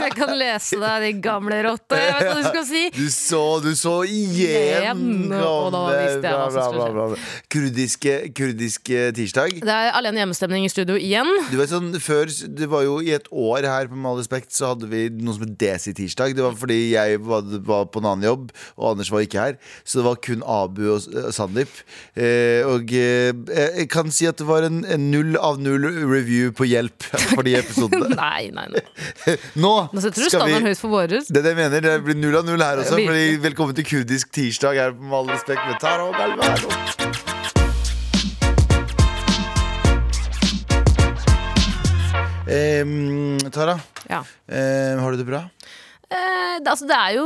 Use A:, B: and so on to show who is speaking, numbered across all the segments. A: Jeg kan lese deg, de gamle rotte. Jeg vet hva du skal si.
B: Du så, du så igjen!
A: Igjen, og da visste jeg hva som
B: Bla, bla,
A: skulle
B: bla, bla. Kurdiske, kurdiske tirsdag.
A: Det er alene hjemmestemning i studio igjen.
B: Du vet sånn, før, det var jo I et år her på Med all respekt så hadde vi noe som het Desi-tirsdag. Det var fordi jeg var, var på en annen jobb, og Anders var ikke her. Så det var kun Abu og, og Sandeep. Eh, og eh, jeg kan si at det var en, en null av null review på hjelp for de episodene.
A: Nei, nei, nei.
B: Nå
A: Nå
B: skal
A: setter du
B: vi
A: standarden høyt for våre.
B: det er det jeg mener. Det blir null av null her også.
A: Vi-
B: Fordi velkommen til kurdisk tirsdag her på Med all respekt med Tara og Galvaro. Em, Tara,
A: Ja.
B: em, har du det bra?
A: Eh, det, altså, det er jo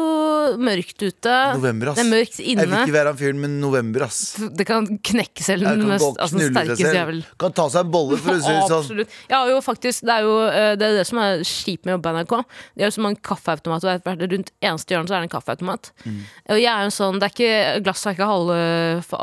A: mørkt ute.
B: November, ass.
A: Det er mørkt
B: Jeg vil
A: inne.
B: ikke være han fyren, men november, ass.
A: Det kan knekke selv
B: Jeg
A: den
B: kan
A: mest
B: gå og
A: altså, den
B: knulle seg
A: sterkeste
B: selv.
A: jævel.
B: Kan ta seg en bolle, for å si det sånn.
A: Absolutt. Jeg har jo faktisk, det er jo eh, det, er det som er kjipt med å jobbe i NRK. Det er jo så mange kaffeautomater, og hvert- rundt eneste hjørne så er det en kaffeautomat.
B: Mm.
A: Og jeg er jo sånn, det er ikke, Glasset er ikke halv,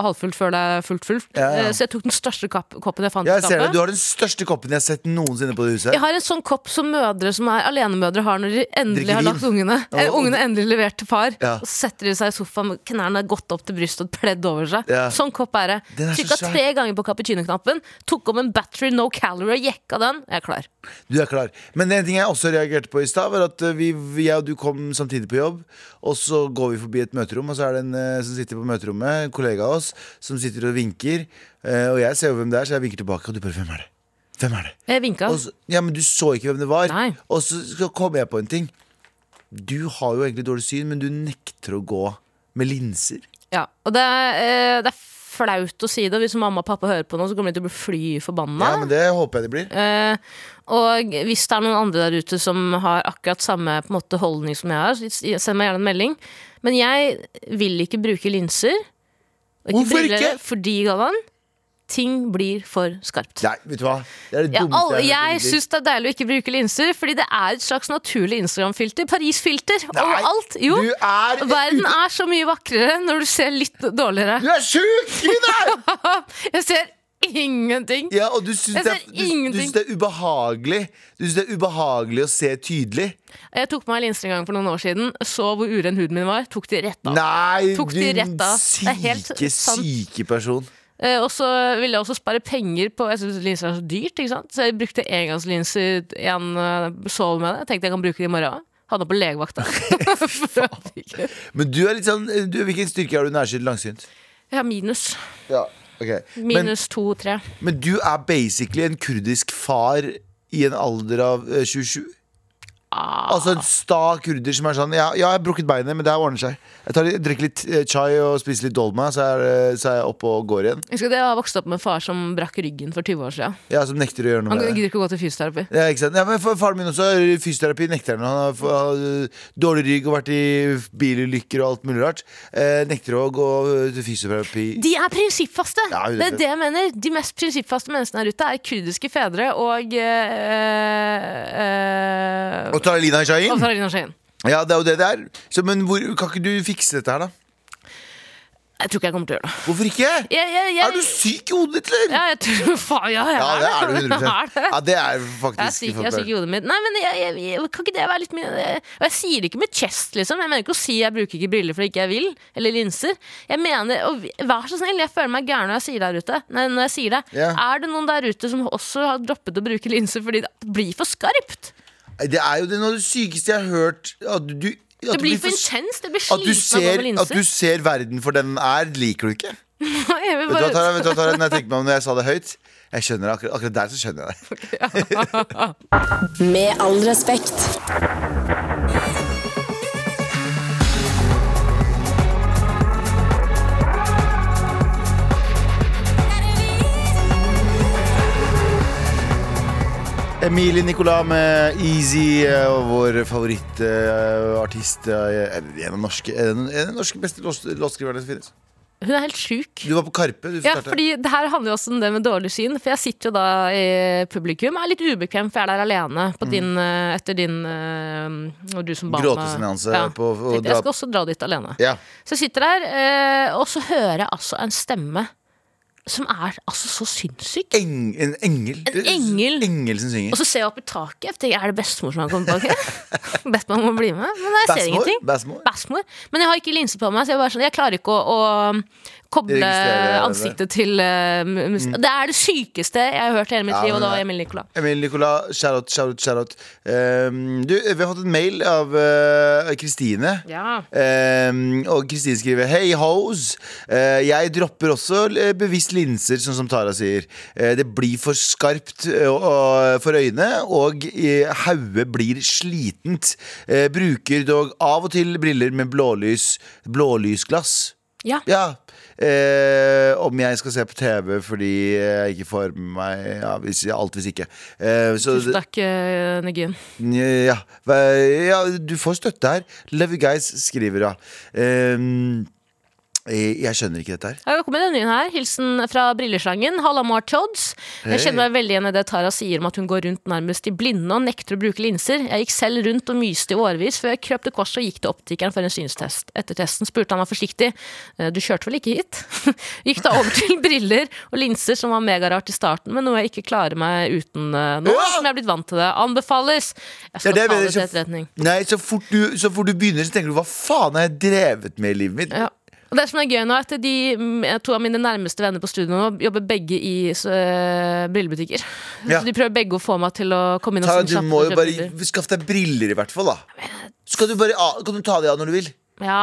A: halvfullt før det er fullt fullt.
B: Ja, ja.
A: Eh, Så jeg tok den største kapp, koppen jeg fant i
B: Jeg ser det,
A: skapet.
B: Du har den største koppen jeg har sett noensinne på det huset.
A: Jeg har en sånn kopp som mødre som er alenemødre har når de endelig
B: Drikker
A: har
B: vin.
A: lagt ungene.
B: Ja,
A: Eller
B: og-
A: ungene endelig levert til far.
B: Ja.
A: Og så setter de seg i sofaen med knærne godt opp til brystet og et pledd over seg.
B: Ja.
A: Sånn kopp er det.
B: Den er så
A: Trykka
B: svær.
A: tre ganger på cappuccino-knappen, tok om en battery no calorie og jekka den. Jeg er klar.
B: Du er klar. Men en ting jeg også reagerte på i stad, var at eh, vi, vi- jeg og du kom samtidig på jobb. Og så går vi forbi et møterom, og så er det en eh, som sitter på møterommet, en kollega av oss, som sitter og vinker. Eh, og jeg ser jo hvem det er, så jeg vinker tilbake, og du bare Hvem er det? Hvem er det?
A: Jeg Eh, vinka.
B: Og så, ja, men du så ikke hvem det var.
A: Nei.
B: Og så, så kom jeg på en ting. Du har jo egentlig dårlig syn, men du nekter å gå med linser.
A: Ja. Og det er, eh, det er flaut å si det. og Hvis mamma og pappa hører på nå, så kommer de til å bli fly forbanna.
B: Ja, men det håper jeg det blir.
A: Eh, og hvis det er noen andre der ute som har akkurat samme på en måte, holdning som jeg har, så s- send meg gjerne en melding. Men jeg vil ikke bruke linser. og
B: Hvorfor
A: briller,
B: ikke?
A: Fordi, Galvan, ting blir for skarpt.
B: Nei, vet du hva? Det er det
A: Ja,
B: dummeste
A: alle,
B: jeg har hørt i
A: jeg
B: mitt liv.
A: syns det er deilig å ikke bruke linser, fordi det er et slags naturlig Instagram-filter. Paris-filter
B: Nei,
A: overalt. Jo,
B: Du er
A: verden er så mye vakrere når du ser litt dårligere.
B: Du er sjuk! Ida!
A: Jeg ser ingenting.
B: Ja, og du syns,
A: Jeg
B: det er,
A: ser
B: du, du
A: ingenting.
B: syns det er ubehagelig Du syns det er ubehagelig å se tydelig?
A: Jeg tok på meg linser en gang for noen år siden, så hvor uren huden min var, tok de rett av.
B: Nei,
A: Tok de rett
B: du
A: av. Det er helt
B: syke,
A: sant.
B: syke person.
A: Eh, og så ville jeg også spare penger på Jeg synes linser er så dyrt, ikke sant? Så jeg brukte engangslinser igjen. eh, Sov med det. Jeg tenkte jeg kan bruke det i morgen. Hadde det på legevakta. For at ikke-
B: Men du er litt sånn du, Hvilken styrke har du nærsynt langsynt?
A: jeg har minus.
B: Ja, ok men,
A: Minus to-tre.
B: men du er basically en kurdisk far i en alder av eh, 27?
A: Ah.
B: Altså en sta kurder som er sånn Ja, ja jeg har brukket beinet, men det her ordner seg. Jeg, tar, litt- drikker litt eh, chai og spiser litt dolma, så er, eh, så er jeg oppe og går igjen.
A: Jeg husker at jeg har vokst opp med en far som brakk ryggen for 20 år siden.
B: Ja, Som nekter å gjøre noe
A: Han
B: med det.
A: gidder ikke å gå til fysioterapi.
B: Ja, ikke sant? Ja, men for Faren min også er fysioterapi nekter han. Han har, f- har øh, dårlig rygg og vært i bilulykker og alt mulig rart. Eh, nekter å gå øh, til fysioterapi.
A: De er prinsippfaste!
B: Ja,
A: det,
B: det-
A: er det jeg mener. De mest prinsippfaste menneskene her ute er kurdiske fedre og eh, eh,
B: Og tar Lina
A: Og
B: Shahin?
A: Taralina Skien.
B: Ja, det er jo det det er. Så, men hvor, kan ikke du fikse dette her, da?
A: Jeg tror ikke jeg kommer til å gjøre det.
B: Hvorfor ikke?
A: Jeg, jeg, jeg,
B: Er du syk i hodet ditt, eller?
A: Ja, jeg tror faen, ja, jeg
B: Ja, det er du
A: det.
B: 100
A: Jeg er det.
B: Ja, det er
A: Jeg er
B: faktisk
A: syk, jeg er syk i hodet mitt. Nei, men jeg, jeg, jeg, kan ikke det være litt mye Og jeg sier det ikke med chest, liksom. Jeg mener ikke å si jeg bruker ikke briller fordi ikke jeg vil, eller linser. Jeg mener, og vi- Vær så snill, jeg føler meg gæren når jeg sier det her ute. Nei, når jeg sier det.
B: Ja.
A: Er det noen der ute som også har droppet å bruke linser fordi det blir for skarpt?
B: Det er jo det, noe av det sykeste jeg har hørt. At du, at
A: Det
B: du
A: blir
B: blir
A: for
B: for-
A: intenst. Det blir
B: At du,
A: sliten av å gå
B: ser,
A: med
B: at du
A: linser.
B: ser verden for den den er, liker du ikke.
A: Jeg
B: Vet du
A: vil
B: hva,
A: bare-
B: Tara, vet du hva, Tara, når jeg tenkte meg om når jeg sa det høyt? Jeg skjønner det, akkurat, akkurat der så skjønner jeg det.
C: Med all respekt.
B: Emilie Nicolas med Easy, eh, og vår eh, favorittartist. En av norske, en, en av norske beste låt- låtskriverne som finnes.
A: Hun er helt sjuk.
B: Du var på Karpe. Du
A: Ja,
B: fortalte.
A: fordi det her handler jo også om det med dårlig syn. For jeg sitter jo da i publikum, er litt ubekvem, for jeg er der alene på
B: Mm.
A: din, eh, etter din eh, Og du som ba meg-
B: Gråteseanse på- og
A: Tenkte,
B: dra-
A: Jeg skal også dra dit alene.
B: ja.
A: Så jeg sitter der, eh, og så hører jeg altså en stemme som er altså så sinnssyk.
B: Eng, en engel.
A: En engel.
B: Engel som synger.
A: Og så ser jeg opp i taket. Jeg tenker, er det bestemor som har kommet bak her? Bestemor må bli med. Men jeg ser
B: Bassmor?
A: ingenting.
B: Bassmor?
A: Bassmor. Men jeg har ikke linse på meg, så jeg, bare sånn, jeg klarer ikke å, å koble
B: Registrere det. Mm.
A: ansiktet til eh, mu- mus- Det er det sykeste jeg har hørt i hele mitt
B: Ja, men
A: liv, og det
B: det-
A: var Emil Nicolas.
B: Emil Nicolas, shout-out, shout-out, shout-out. Ehm, du, vi har fått en mail av eh, Kristine.
A: Ja.
B: Ehm, og Kristine skriver Hei hoes, Eh, jeg dropper også eh, bevisst linser, sånn som Tara sier. Eh, det blir for skarpt eh, og, og, for øynene, og uh, hodet blir slitent. Eh, bruker dog av og til briller med blålys, blålysglass.
A: Ja.
B: Ja. Eh, om jeg skal se på TV fordi jeg ikke får med meg ja, hvis, alt hvis ikke. Eh, så,
A: Tusen takk, eh, Negin.
B: ja, hva- ja, du får støtte her. Love you guys, skriver hun. Ehm, eh, jeg jeg skjønner ikke dette her.
A: Her kommer det en ny en her. Hilsen fra brilleslangen. Halla, Mar Todds. Jeg
B: Hei.
A: kjenner meg veldig igjen i det Tara sier om at hun går rundt nærmest i blinde og nekter å bruke linser. Jeg gikk selv rundt og myste i årevis før jeg krøp til korset og gikk til optikeren for en synstest. Etter testen spurte han meg forsiktig «Eh, du kjørte vel ikke hit? Gikk da over til briller og linser, som var megarart i starten, men noe jeg ikke klarer meg uten eh, nå
B: Ja!
A: som jeg er blitt vant til det. Anbefales! Jeg skal
B: det
A: ta
B: mener
A: det
B: jeg
A: til
B: så-
A: etterretning.
B: Nei, så fort, du, så fort du begynner, så tenker du hva faen har jeg drevet med i livet mitt?
A: Ja. Og det som er gøy nå, er at de, mm, to av mine nærmeste venner på studio nå jobber begge i så, eh, brillebutikker.
B: Ja.
A: Så de prøver begge å få meg til å komme inn og
B: Tara,
A: synge
B: du
A: kjapt
B: må
A: og
B: jo
A: kjøpe
B: bare
A: briller.
B: skaffe deg briller, i hvert fall. da Skal du bare, ah, Kan du ta de av når du vil?
A: Ja.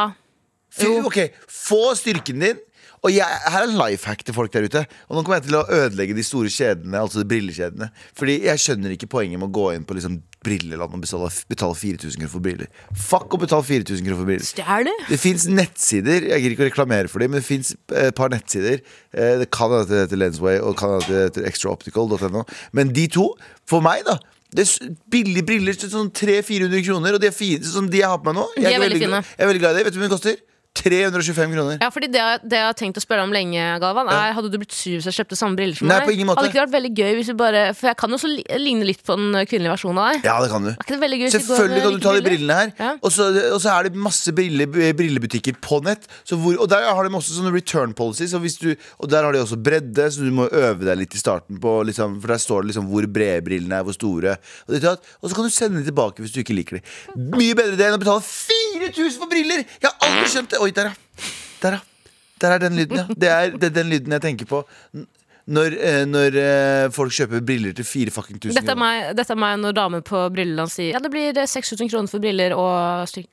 B: Fy,
A: Jo.
B: ok, Få styrken din. Og jeg, her er en life hack til folk der ute. Og nå kommer jeg til å ødelegge de store kjedene. Altså de brillekjedene Fordi jeg skjønner ikke poenget med å gå inn på liksom brilleland og betale, betale 4000 kroner for briller. Fuck å betale 4000 kroner for briller.
A: Stjerne?
B: Det fins nettsider, jeg gir ikke å reklamere for dem, men det fins et par nettsider. Eh, Det kan hende det heter Lensway og kan hende det heter extraoptical.no. Men de to, for meg, da. Det er s- billige briller til sånn 300-400 kroner, og de er fine, sånn de jeg har på meg nå.
A: De er
B: ikke
A: veldig fine.
B: glad- Jeg er veldig glad i det. Vet du hva de koster? 325 kroner.
A: Ja, fordi det, jeg- det jeg har tenkt å spørre om lenge, Galvan, er hadde du blitt sur hvis jeg kjøpte samme briller som
B: Nei,
A: meg?
B: på ingen måte.
A: Hadde ikke det vært veldig gøy hvis vi bare For jeg kan jo også li- ligne litt på den kvinnelige versjonen av deg.
B: Ja, det kan du.
A: Er ikke det veldig gøy hvis vi går
B: Selvfølgelig
A: med
B: kan du
A: like
B: ta de brillene her.
A: Ja.
B: Og, så, og så er det masse brille, eh, brillebutikker på nett. Så hvor, og der har de også sånne return policies. Og, hvis du, og der har de også bredde, så du må øve deg litt i starten. På, liksom, for der står det liksom hvor brede brillene er, hvor store. Og, ditt og, datt. og så kan du sende dem tilbake hvis du ikke liker dem. Mye bedre det enn å betale 4000 for briller! Jeg har aldri skjønt det! Oi, der, ja. Der, ja. Der er den lyden, ja. Det er, det er den lyden jeg tenker på. n- Når, eh, når eh, folk kjøper briller til 4000 kroner.
A: Dette er, meg, dette er meg når damer på Brilleland sier ja, det blir eh, 6000 kroner for briller og styrk.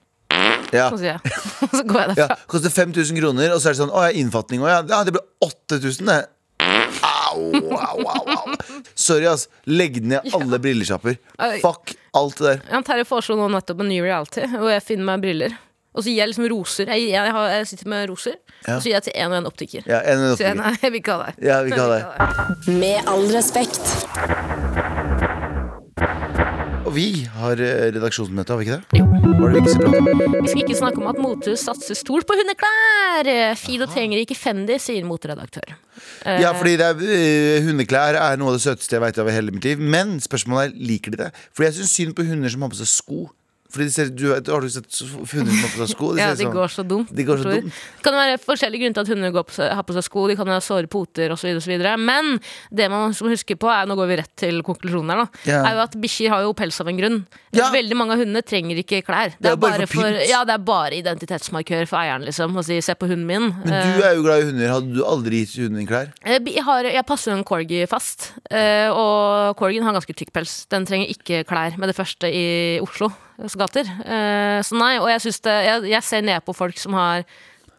B: Ja.
A: Så sier jeg. Og så går jeg derfra.
B: Ja, koster 5000 kroner, og så er det sånn Å, jeg har innfatning òg, ja. ja. Det blir 8000, det. Au, au, au, au. Sorry, ass. Legg ned alle brillesjapper.
A: Oi.
B: Fuck alt det der.
A: Ja, Terje foreslo nå nettopp en ny reality, hvor jeg finner meg briller. Og så gir jeg liksom roser. Jeg, jeg, har, jeg sitter med roser, og så gir jeg til én og én optiker.
B: Ja, en
A: Så jeg,
B: optiker.
A: nei, jeg vil ikke ha deg.
B: Ja, vi kan ha det.
C: Med all respekt.
B: Og vi har eh, redaksjonsmøte, har vi ikke det? Var det vi ikke så bra?
A: Vi skal ikke snakke om at motehus satser stort på hundeklær! Fido trenger ikke Fendi, sier moteredaktør.
B: Ja, fordi det er, eh, hundeklær er noe av det søteste jeg veit over hele mitt liv. Men spørsmålet er liker de det. Fordi jeg syns synd på hunder som har på seg sko. Fordi de ser, du, vet- har du sett så- hunder som har på seg sko?
A: Ja,
B: ser
A: de
B: sånn-
A: går så dumt.
B: de går så
A: forstår.
B: dumt.
A: Det kan være forskjellige grunner til at hunder går på, seg- har på seg sko. De kan ha såre poter osv. Men det man må huske på, er, nå går vi rett til konklusjonen her, da,
B: Ja.
A: er jo at bikkjer har jo pels av en grunn.
B: Ja.
A: Veldig mange av hundene trenger ikke klær. Det,
B: er bare for pynt.
A: ja, det er bare identitetsmarkør for eieren, liksom. Å si 'se på hunden min'.
B: Men du er jo glad i hunder. Hadde du aldri gitt hunden din klær?
A: Eh, Jeg, har, jeg passer jo en corgi fast, eh, og corgien har ganske tykk pels. Den trenger ikke klær med det første i Oslos gater. Eh, Så nei, og jeg, synes det, jeg, jeg ser ned på folk som har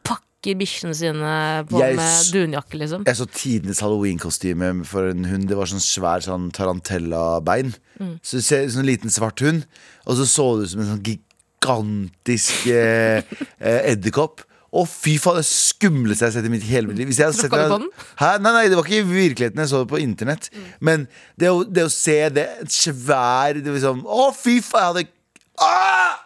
A: pakker bikkjene sine på
B: Jeg s-
A: med dunjakke, liksom.
B: Jeg så tidenes halloween-kostyme for en hund. Det var sånn svær sånn tarantella-bein.
A: Mm.
B: Så du ser Sånn liten svart hund. Og så så det ut som en sånn gigantisk eh, eh, edderkopp. Å, fy faen, det er skumleste jeg har sett i mitt hele mitt liv. Hvis jeg hadde sett
A: Tråkka du på
B: det-
A: den? Mm.
B: Hæ? Nei, nei, det var ikke i virkeligheten. Jeg så det på internett. Men det å, det å se det et svær det var liksom, Å, fy faen, jeg hadde ah!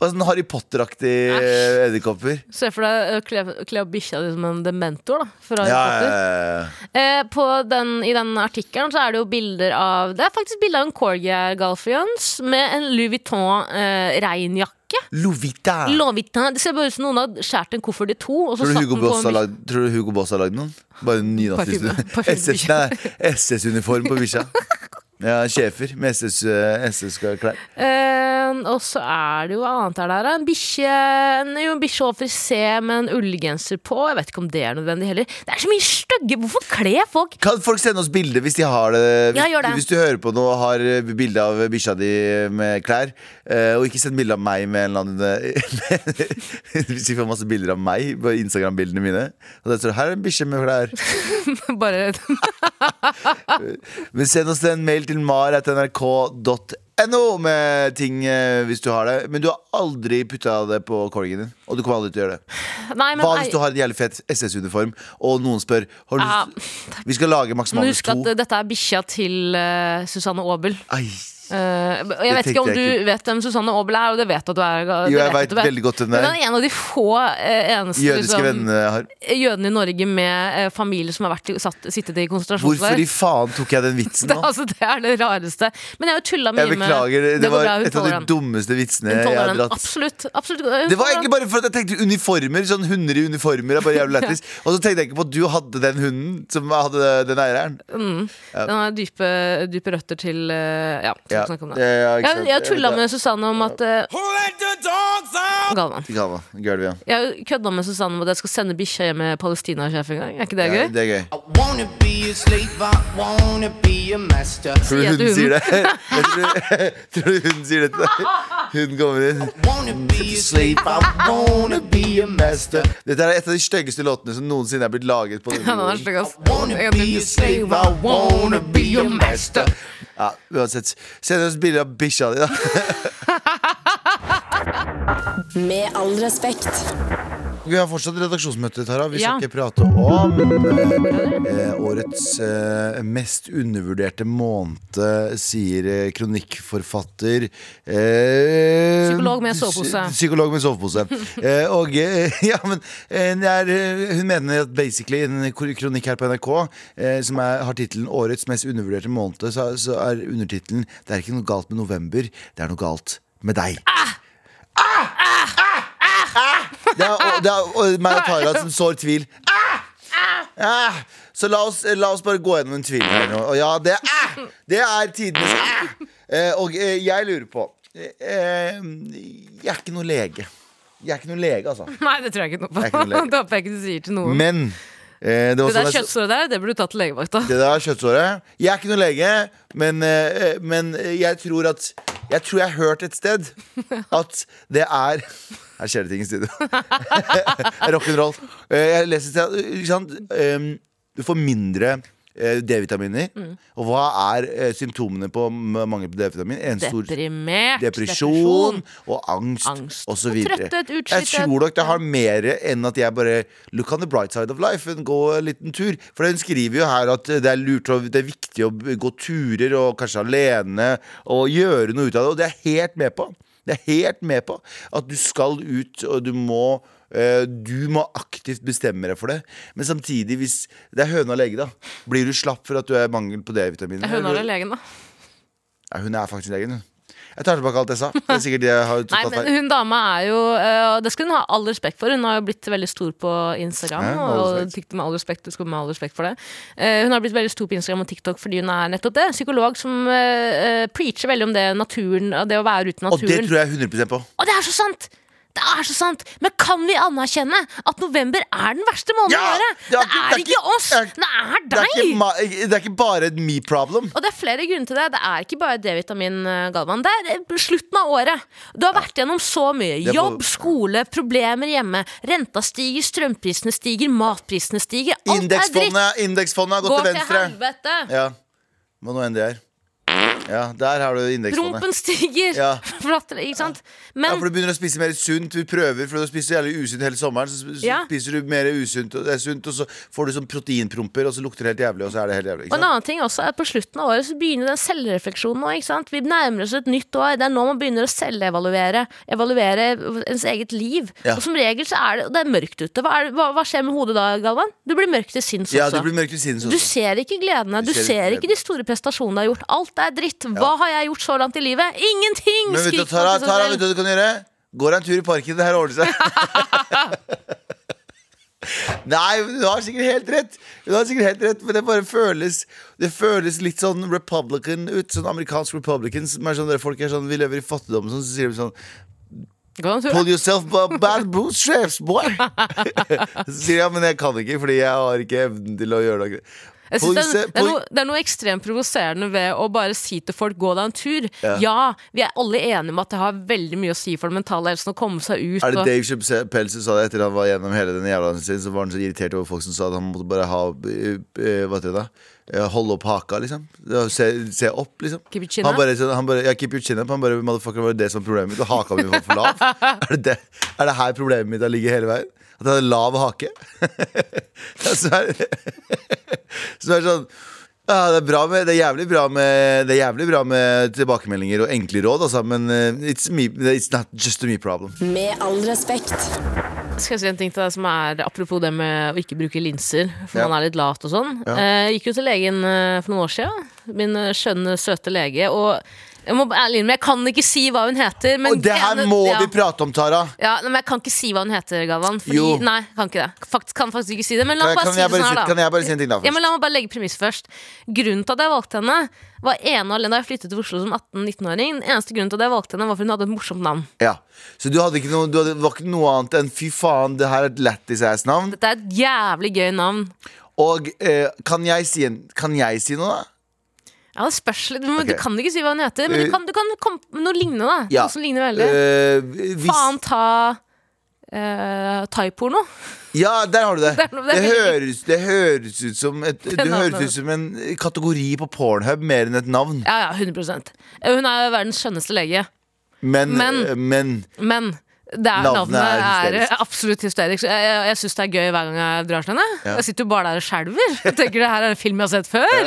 B: Og sånn Harry Potter-aktige
A: Æsj.
B: edderkopper.
A: Se for deg å kle- kle opp bikkja di som en dementor, da. Fra
B: Ja,
A: Harry
B: ja,
A: Potter.
B: ja,
A: Eh, på den, I den artikkelen så er det jo bilder av Det er faktisk bilde av en Corgier Galfians med en Louis eh, Vuitton-reinjakke.
B: ja. Lovita!
A: Louis Vuitton, Det ser bare ut som noen har skåret en koffert i to. Og så
B: Tror du,
A: satt
B: Hugo
A: den på
B: Boss
A: en
B: har
A: bikkje.
B: lagd, tror du Hugo Boss har lagd noen? Bare en nynazist
A: Parfyme. Parfyme.
B: SS, nei, SS-uniform på bikkja. Ja, Schæfer med SS-klær.
A: Eh, og så er det jo hva annet er det her. da? En bikkje en- jo, en bikkje over C med en ullgenser på. Jeg vet ikke om det er nødvendig heller. Det er så mye stygge Hvorfor kler folk
B: Kan folk sende oss bilder hvis de har det? Hvis,
A: Ja, gjør det.
B: hvis du hører på nå og har eh, bilde av bikkja di med klær, eh, og ikke send bilde av meg med en eller annen eh, Hvis vi får masse bilder av meg på Instagram-bildene mine, og der står det 'her er en bikkje med klær',
A: bare
B: men send oss en mail til mar.nrk.no med ting eh, hvis du har det. Men du har aldri putta det på corrigen din, og du kommer aldri til å gjøre det.
A: Nei, men
B: Hva
A: ei-
B: hvis du har en jævlig fet SS-uniform, og noen spør har du
A: Ja,
B: lyst- Vi skal lage Max
A: Men
B: Manus
A: husk
B: 2.
A: at eh, dette er bikkja til eh, Susanne Aabel.
B: Ai,
A: Eh, og jeg
B: Det
A: vet ikke om
B: tenkte
A: du
B: jeg
A: vet hvem Susanne Aabel er, og det vet du at du er. det
B: jo, jeg
A: vet at
B: veit
A: du er.
B: veldig godt hvem det
A: Hun
B: er.
A: er en av de få eh, eneste
B: Jødiske
A: liksom,
B: vennene har
A: jødene i Norge med eh, familie som har vært, i- satt, sittet i
B: Hvorfor
A: konsentrasjonsleir.
B: i faen tok jeg den vitsen
A: Det,
B: nå?
A: altså, det er det rareste. Men jeg har jo tulla mye
B: Jeg beklager,
A: med
B: det
A: går
B: var
A: bra, hun
B: et av de
A: tåler den.
B: dummeste vitsene
A: Hun
B: jeg
A: tåler
B: har
A: den.
B: dratt.
A: Absolutt. absolutt.
B: Det
A: Hun
B: var
A: tåler den.
B: egentlig bare for at jeg tenkte uniformer. Sånn hunder i uniformer er bare jævlig lættis. Og så tenkte jeg ikke på at du hadde den hunden som hadde den eieren.
A: Den har dype, dype røtter til eh, Ja, skal
B: Ja,
A: ikke snakke om
B: ja, ja,
A: det.
B: ikke
A: Jeg,
B: sant.
A: jeg tulla
B: vet
A: med Susanne om at eh, Galvan.
B: det. Kalma, gulvet, ja.
A: Jeg kødda med Susanne om at jeg skal sende bikkja hjem med Palestina-sjef en gang. Er ikke det
B: ja.
A: gøy?
B: Det er gøy.
D: I wanna be a slave, I wanna be a master.
B: Tror du
A: Sier
B: hunden
A: du
B: sier det? Jeg tror, tror du hunden sier det til deg? Hunden kommer inn.
D: Wanna be a slave, I wanna be a master.
B: Dette er et av de styggeste låtene som noensinne er blitt laget på denne
A: Ja, den er
B: jorden.
A: stygg, ass.
D: Wanna be a slave, I wanna be a master.
B: Ja, uansett. Send oss bilde av bikkja di, da.
E: Med all respekt.
B: Vi har fortsatt redaksjonsmøte, Tara. Vi skal
A: Ja.
B: ikke prate om eh, årets eh, mest undervurderte måned, sier eh, kronikkforfatter eh,
A: Psykolog med sovepose.
B: psy- Psykolog med sovepose. eh, og eh, ja, men eh, det er, eh, hun mener at basically en kor- kronikk her på NRK eh, som er, har tittelen 'Årets mest undervurderte måned', så, så er undertittelen 'Det er ikke noe galt med november, det er noe galt med deg'.
A: Ah!
B: Ah! Det er, og, det er og meg og Tara som sår tvil. Ah! Ah! Så la oss, la oss bare gå gjennom en tvil her nå. Og ja, det er, ah! det er tidenes ah! Eh, Og eh, jeg lurer på eh, Jeg er ikke noe lege. Jeg er ikke noe lege, altså.
A: Nei, det tror jeg ikke noe på.
B: Det er ikke noe lek.
A: Det håper jeg ikke du sier til noen.
B: Men eh, det, var
A: Det der
B: sånn jeg-
A: kjøttsåret der, det burde du tatt til legevakta.
B: det der kjøttsåret. Jeg er ikke noe lege, men, eh, men jeg tror at Jeg tror jeg har hørt et sted at det er Her skjer det ting i studio. Rock'n'roll. Eh, Jeg leser et sted ikke sant? Um, Du får mindre eh, D-vitaminer. Og hva er eh, symptomene på m- mangel på D-vitamin? En stor
A: Deprimert.
B: depresjon og angst,
A: Angst.
B: og så
A: Og
B: videre.
A: trøtthet,
B: jeg
A: utslitthet.
B: tror nok det har mer enn at jeg bare Look on the bright side of life and gå en liten tur. For hun skriver jo her at det er lurt og det er viktig å gå turer og kanskje alene og gjøre noe ut av det, og det er jeg helt med på. Det er jeg helt med på at du skal ut, og du må eh, du må aktivt bestemme deg for det. Men samtidig, hvis det er høna og lege, da. Blir du slapp for at du er mangel på D-vitaminer?
A: Hun er legen, da.
B: Ja, hun er faktisk legen, hun. Jeg tar tilbake alt jeg sa. Det er sikkert det jeg har
A: Nei,
B: tatt
A: men
B: feil.
A: hun dama er jo øh, Det skal hun ha all respekt for. Hun har jo blitt veldig stor på Instagram.
B: Ja, med all
A: og
B: respekt.
A: TikTok med all respekt, det skal hun ha all respekt for det. Eh, hun har blitt veldig stor på Instagram og TikTok fordi hun er nettopp det. Psykolog som øh, øh, preacher veldig om det naturen og det å være ute i
B: Og det
A: naturen.
B: tror jeg 100 på.
A: Og det er så sant! Det er så sant! Men kan vi anerkjenne at november er den verste måneden
B: Ja!
A: i året?
B: Ja,
A: Det
B: det er
A: er ikke
B: ikke-
A: oss!
B: det er-
A: Det er
B: Det er, ikke
A: deg!
B: ma det er ikke bare et me problem.
A: Og det er flere grunner til det. Det er ikke bare D-vitamin, eh, Galvan. Det er eh, slutten av året. Du har vært gjennom så mye.
B: Det er på-
A: Jobb, skole, problemer hjemme. Renta stiger, strømprisene stiger, matprisene stiger. Alt er dritt.
B: Indeksfondet indeksfondet har gått
A: Går
B: til
A: til
B: venstre.
A: helvete.
B: Ja, Hva nå enn det er. Ja, der har du indeksfondet.
A: Rumpen stiger!
B: Ja.
A: Flatter, ikke sant?
B: Ja,
A: Men
B: for du begynner å spise mer sunt. Vi prøver, for du har spist så jævlig usunt hele sommeren. Så sp- så
A: Ja.
B: spiser du mer usunt, og det er sunt, og så får du sånn proteinpromper, og så lukter det helt jævlig, og så er det helt jævlig.
A: Og
B: Ikke
A: en
B: sant?
A: annen ting også er at På slutten av året så begynner den selvrefleksjonen. nå, ikke sant? Vi nærmer oss et nytt år. Det er nå man begynner å selvevaluere. Evaluere ens eget liv.
B: Ja.
A: Og som regel så er det, og det er mørkt ute. Hva, er, det- hva, hva skjer med hodet da, Galvan? Du blir mørk til sinns
B: Ja, du
A: også.
B: blir mørk i sinns
A: Du
B: også.
A: ser ikke gledene, du,
B: Du ser ikke
A: ser ikke de store prestasjonene du har gjort. Alt er dritt. Hva har jeg gjort så langt i livet? Ingenting!
B: Men vet du,
A: skriker
B: Tara,
A: man til seg
B: Tara,
A: selv.
B: vet du hva du kan gjøre? Går en tur i parken, det her ordner seg. Nei, men du har sikkert helt rett. Du har sikkert helt rett, Men det bare føles Det føles litt sånn republican ut. Sånn amerikansk republican. Som er sånn, der folk er sånn, vi lever i fattigdom, sånn, så sier de sånn
A: Gå en tur, da.
B: Pull yourself by bad bootstraps, boy! så sier jeg, ja, men jeg kan ikke, fordi jeg har ikke evnen til å gjøre noe.
A: Jeg
B: Pull
A: synes det, er,
B: yourself-
A: det, er
B: pull-
A: noe, det er noe ekstremt provoserende ved å bare si til folk 'gå deg en tur'. Ja, vi er alle enige om at det har veldig mye å si for den mentale helsen å komme seg ut.
B: Er det
A: og,
B: Dave Chappelle som sa det etter han var gjennom hele den jævla dansen sin? Så var han så irritert over folk som sa at han måtte bare ha eh, eh, Hva heter det da? Eh, Holde opp haka, liksom. Ja, Se, se opp, liksom.
A: Keep your chin
B: han
A: up.
B: bare, sånn- han bare, ja, keep your chin up. Han bare Motherfucker, var det det som var problemet mitt? Og haka mi var for lav? er, det det, er det her problemet mitt har ligget hele veien? At jeg hadde lav hake? Ja, så er det så er det sånn ja, det, er bra med, det, er jævlig bra med, det er jævlig bra med tilbakemeldinger og enkle råd, altså, men eh, it's, me, it's not just a me problem.
E: Med all respekt.
A: Skal jeg si en ting til deg som er Apropos det med å ikke bruke linser, for
B: Ja.
A: man er litt lat og sånn.
B: Ja.
A: Eh, gikk jo til legen eh, for noen år siden. Min eh, skjønne, søte lege. Og jeg må bare ærlig innrømme, jeg kan ikke si hva hun heter. Men
B: Og det her
A: ene-
B: må
A: ja.
B: vi prate om, Tara.
A: Ja, nei, men Jeg kan ikke si hva hun heter, Galvan. Fordi,
B: Jo.
A: Nei, jeg kan ikke det. Fakt, kan faktisk ikke si det. Men la
B: Kan,
A: meg bare
B: kan,
A: si
B: jeg
A: det
B: bare,
A: sånn
B: si-
A: her, da.
B: kan jeg bare si en ting, da?
A: Ja, men
B: Først?
A: La meg bare legge premiss først. Grunnen til at jeg valgte henne, var ene og alene da jeg flyttet til Oslo som 18-19-åring. Den eneste grunnen til at jeg valgte henne, var for hun hadde et morsomt navn.
B: Ja. Så du hadde ikke noe, du hadde, det var ikke noe annet enn fy faen, det her er et lættis ass-navn.
A: Dette er et jævlig gøy navn.
B: Og eh, kan, jeg si en, kan jeg si noe, da?
A: Ja, det spørs litt. Du,
B: Ok.
A: du kan ikke si hva hun heter, men
B: Eh,
A: du kan, du kan komme med noe lignende. da
B: Ja.
A: Noe som ligner veldig
B: Eh, hvis,
A: Faen ta uh, thaiporno.
B: Ja, der har du det.
A: Der- der
B: det,
A: vil jeg
B: høres, det høres ut som et, Det
A: navnet.
B: høres ut som en kategori på Pornhub mer enn et navn.
A: Ja, ja, 100 Eh, Hun er jo verdens skjønneste lege,
B: Men,
A: Men-
B: eh, men
A: men det er,
B: Navnet
A: navnet,
B: er
A: er,
B: hysterisk.
A: absolutt hysterisk. Jeg, jeg, jeg syns det er gøy hver gang jeg drar til henne.
B: Ja.
A: Jeg sitter jo bare der og skjelver. Jeg Tenker det her er en film jeg har sett før.